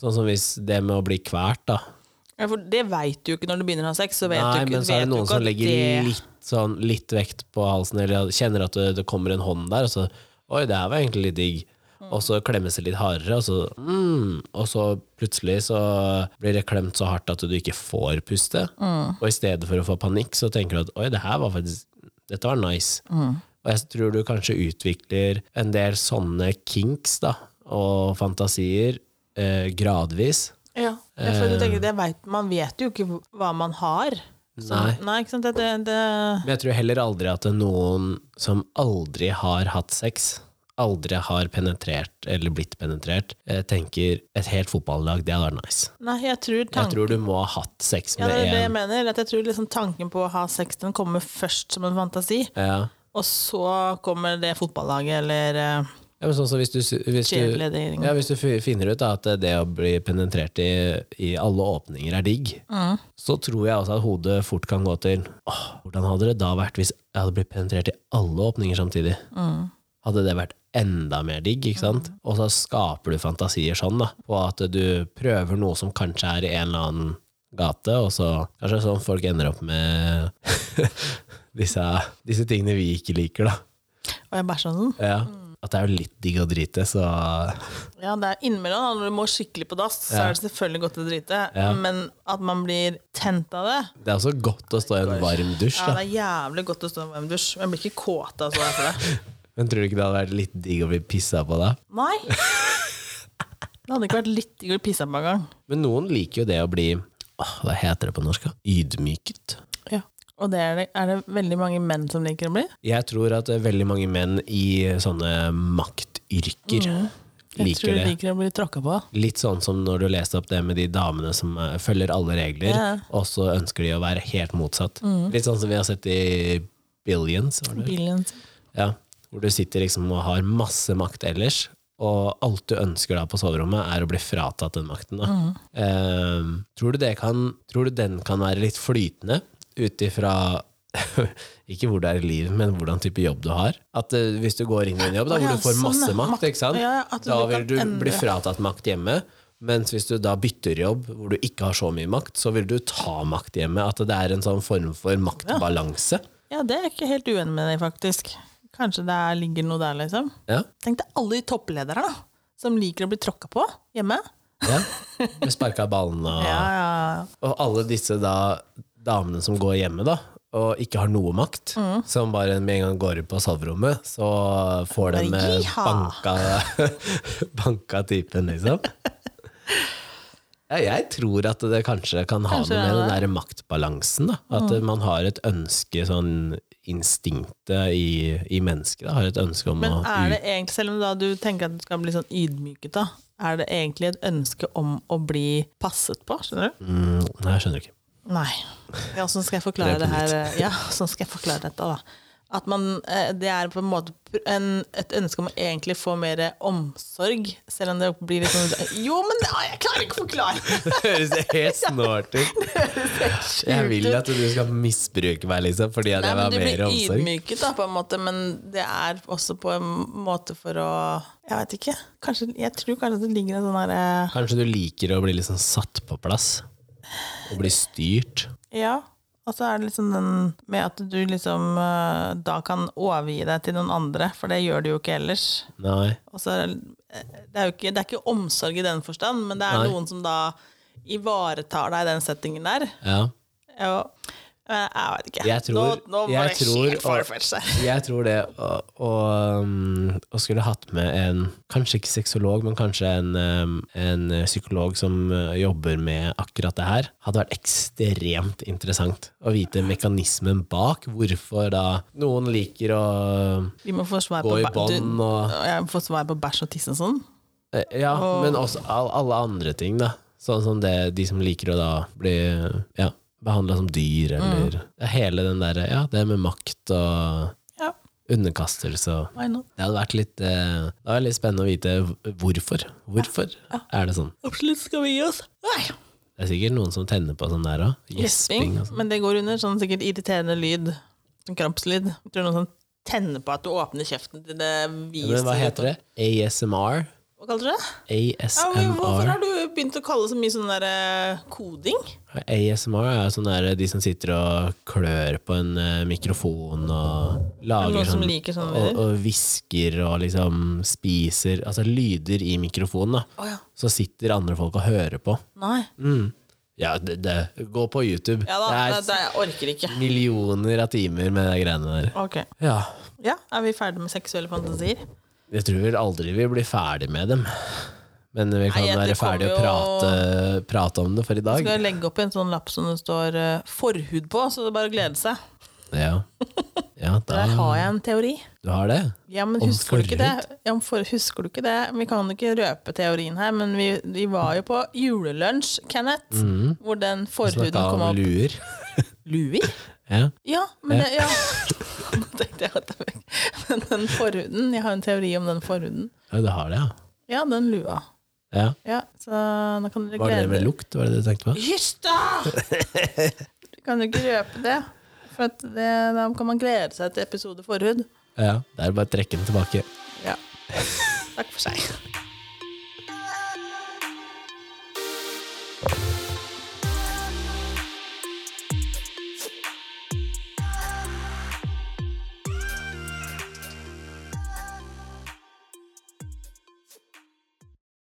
S1: Sånn som hvis det med å bli kvært, da.
S2: Ja, for det veit du jo ikke når du begynner å ha sex. Så vet
S1: Nei,
S2: du ikke,
S1: men så er
S2: vet
S1: det
S2: du
S1: noen
S2: ikke
S1: som
S2: at
S1: legger
S2: det-
S1: litt, sånn, litt vekt på halsen, eller kjenner at det, det kommer en hånd der, og så Oi, det her var egentlig litt digg. Og så klemmes det litt hardere, og så mm, Og så plutselig så blir det klemt så hardt at du ikke får puste.
S2: Mm.
S1: Og i stedet for å få panikk, så tenker du at oi, det her var faktisk Dette var nice.
S2: Mm.
S1: Og jeg tror du kanskje utvikler en del sånne kinks da, og fantasier eh, gradvis.
S2: Ja, ja, for du
S1: eh,
S2: tenker, det vet, man vet jo ikke hva man har. Så,
S1: Nei.
S2: ikke sant? Det, det, det,
S1: Men jeg tror heller aldri at det er noen som aldri har hatt sex, aldri har penetrert eller blitt penetrert, eh, tenker et helt fotballag, det hadde vært nice.
S2: nei, jeg tror
S1: Jeg
S2: tanken
S1: tror du må ha hatt sex
S2: ja,
S1: med
S2: det er det jeg
S1: en
S2: mener. At jeg tror liksom tanken på å ha sex den kommer først som en fantasi,
S1: ja.
S2: og så kommer det fotballaget eller eh,
S1: Ja, men sånn som hvis du, hvis du,
S2: cheerleading.
S1: ja, hvis du fi- finner ut da, at det å bli penetrert i, i alle åpninger er digg, så tror jeg også at hodet fort kan gå til åh, hvordan hadde det da vært hvis jeg hadde blitt penetrert i alle åpninger samtidig? Hadde det vært enda mer digg, ikke sant? Og så skaper du fantasier sånn da, på at du prøver noe som kanskje er i en eller annen gate, og så kanskje sånn folk ender opp med disse, disse tingene vi ikke liker da.
S2: Og jeg bæsja sånn.
S1: Ja. At det er jo litt digg å drite, så
S2: Ja, det er innimellom, da, når du må skikkelig på dass, så
S1: Ja.
S2: er det selvfølgelig godt å drite,
S1: Ja.
S2: men at man blir tent av det
S1: Det er også godt å stå i en varm dusj,
S2: ja,
S1: da.
S2: Det er jævlig godt å stå i en varm dusj, men jeg blir ikke kåt av å stå der for det.
S1: Men tror du ikke det hadde vært litt digg å bli pissa på da?
S2: Nei. Det hadde ikke vært litt digg å pisse på en gang.
S1: Men noen liker jo det å bli åh, Hva heter det på norsk? da? Ydmyket.
S2: Og det er, det, er det veldig mange menn som liker å bli?
S1: Jeg tror at eh, veldig mange menn i sånne maktyrker
S2: Mm. Jeg tror
S1: liker
S2: de
S1: det.
S2: liker å bli tråkka på.
S1: Litt sånn som når du leste opp det med de damene som eh, følger alle regler,
S2: Ja. Mm.
S1: og så ønsker de å være helt motsatt. Litt sånn som vi har sett i Billions. Var det?
S2: Billions.
S1: Ja, hvor du sitter liksom og har masse makt ellers, og alt du ønsker da på soverommet er å bli fratatt den makten. Da.
S2: Mhm.
S1: Eh, tror, du det kan, tror du den kan være litt flytende ut ifra ikke hvor du er i livet, men hvordan type jobb du har? At eh, Hvis du går inn i en jobb da,
S2: Å ja,
S1: hvor du får
S2: sånn,
S1: masse
S2: ja.
S1: makt, ikke sant?
S2: Ja, ja, at du
S1: da
S2: kan
S1: vil du
S2: endre.
S1: bli fratatt makt hjemme. Mens hvis du da bytter jobb hvor du ikke har så mye makt, så vil du ta makt hjemme. At det er en sånn form for maktbalanse.
S2: Ja, det er jeg ikke helt uenig med deg, faktisk. Kanskje det er, ligger noe der, liksom.
S1: Ja.
S2: Tenk deg alle de topplederne da, som liker å bli tråkka på hjemme.
S1: Ja. Med sparka ballen og
S2: Ja, ja, ja.
S1: Og alle disse da damene som går hjemme da og ikke har noe makt,
S2: Mm.
S1: som bare med en gang går ut på soverommet, så får de
S2: Bare
S1: eh,
S2: jiha!
S1: banka, banka typen, liksom. Ja, jeg tror at det kanskje kan ha
S2: Kanskje
S1: noe med
S2: det Mm. er
S1: den der maktbalansen. Da. At eh, man har et ønske, sånn instinktet i, i mennesket, da, har et ønske om
S2: Men
S1: å
S2: er det egentlig, selv om da du tenker at du skal bli sånn ydmyket, da, er det egentlig et ønske om å bli passet på? Skjønner du?
S1: ut... Mm, nei, jeg skjønner ikke.
S2: Nei. Ja, sånn skal jeg forklare
S1: Det
S2: det
S1: er på
S2: her. eh, Ja, sånn skal jeg forklare dette, da. At man, eh, det er på en måte pr- en, et ønske om å egentlig få mer eh, omsorg, selv om det blir litt sånn Jo, men det- ah, jeg klarer ikke å forklare!
S1: Det høres helt snålt ut. Jeg vil at du skal misbruke meg, liksom, fordi at
S2: Nei,
S1: jeg
S2: men
S1: var
S2: du
S1: mer
S2: blir
S1: omsorg.
S2: ydmyket, da, på en måte, men det er også på en måte for å Jeg vet ikke. Kanskje, jeg tror kanskje det ligger en sånn herre
S1: Kanskje du liker å bli liksom satt på plass? Og bli styrt?
S2: Ja, og så er det liksom den med at du liksom eh, da kan overgi deg til noen andre, for det gjør du jo ikke ellers.
S1: Nei.
S2: Og så er det, eh, det er jo ikke, det er ikke omsorg i den forstand, men det er
S1: Nei.
S2: noen som da ivaretar deg i den settingen der.
S1: Ja.
S2: Ja, Eh, Jeg vet ikke.
S1: Jeg tror-
S2: nå, nå var
S1: jeg
S2: det
S1: tror-
S2: helt farfetched her.
S1: Jeg tror det å, å, um, å skulle hatt med en Kanskje ikke sexolog, men kanskje en, um, en psykolog som uh, jobber med akkurat det her, hadde vært ekstremt interessant å vite mekanismen bak. Hvorfor da noen liker å
S2: Vi må få svar på
S1: gå i
S2: bæ-
S1: bånd
S2: du-
S1: og
S2: Jeg må få svar på bæsj og tiss og sånn.
S1: Eh, Ja, men også all, alle andre ting, da. Sånn som det, de som liker å da bli ja, behandla som
S2: Mm.
S1: dyr, eller ja, hele den derre Ja, det med makt og
S2: Ja,
S1: underkastelse og
S2: why not?
S1: Det hadde vært litt, eh, det hadde vært litt spennende å vite hvorfor. Hvorfor er det sånn?
S2: Absolutt skal vi gi oss. Nei.
S1: Det er sikkert noen som tenner på sånn der òg. Gjesping.
S2: Gjesping.
S1: og sånn.
S2: Men det går under sånn sikkert irriterende lyd. Sånn krampslyd. Jeg tror noen sånn tenner på at du åpner kjeften til det viser
S1: Men hva heter det? ASMR?
S2: Hva kaller du det? Ja, men hvorfor
S1: ASMR
S2: har du begynt å kalle så mye sånn der eh, koding?
S1: ASMR er sånn der de som sitter og klør på en eh, mikrofon og lager
S2: Noen som
S1: sånn
S2: liker sånne
S1: og,
S2: lyder?
S1: og hvisker og liksom spiser Altså lyder i mikrofonen, da.
S2: Å ja.
S1: Så sitter andre folk og hører på.
S2: Nei.
S1: Mm. Ja, det, det. Gå på YouTube.
S2: Ja da, det,
S1: det
S2: det, jeg orker ikke.
S1: er millioner av timer med de greiene der.
S2: Ok.
S1: Ja.
S2: Ja, er vi ferdige med seksuelle fantasier?
S1: Jeg tror vel aldri vi blir ferdig med dem. Men vi kan
S2: Nei, jeg-
S1: være
S2: det
S1: ferdig å
S2: kommer
S1: prate,
S2: jo-
S1: prate om det for i dag.
S2: Skal jeg legge opp i en sånn lapp som det står eh, 'forhud' på, så det er bare å glede seg.
S1: Ja. ja, da
S2: Der har jeg en teori.
S1: Du har det?
S2: Ja, men
S1: Om
S2: husker du ikke det? Ja, om for, husker du ikke det? Vi kan jo ikke røpe teorien her, men vi, vi var jo på julelunsj, Kenneth, hvor den forhuden
S1: Snakka
S2: kom
S1: Mhm. om
S2: opp.
S1: luer.
S2: Luer?
S1: Ja.
S2: Ja, men det, ja. Nå tenkte jeg at det Men den forhuden, jeg har en teori om den forhuden.
S1: ja, du har det, ja.
S2: Ja, den lua.
S1: ja.
S2: Ja, så nå kan dere
S1: Var det det
S2: glede
S1: med lukt? Var det det du tenkte på?
S2: Hysj, da! Du kan jo ikke røpe det. For at det, da kan man glede seg til episode forhud.
S1: Ja. Det er bare å trekke den tilbake.
S2: Ja. Takk for seg.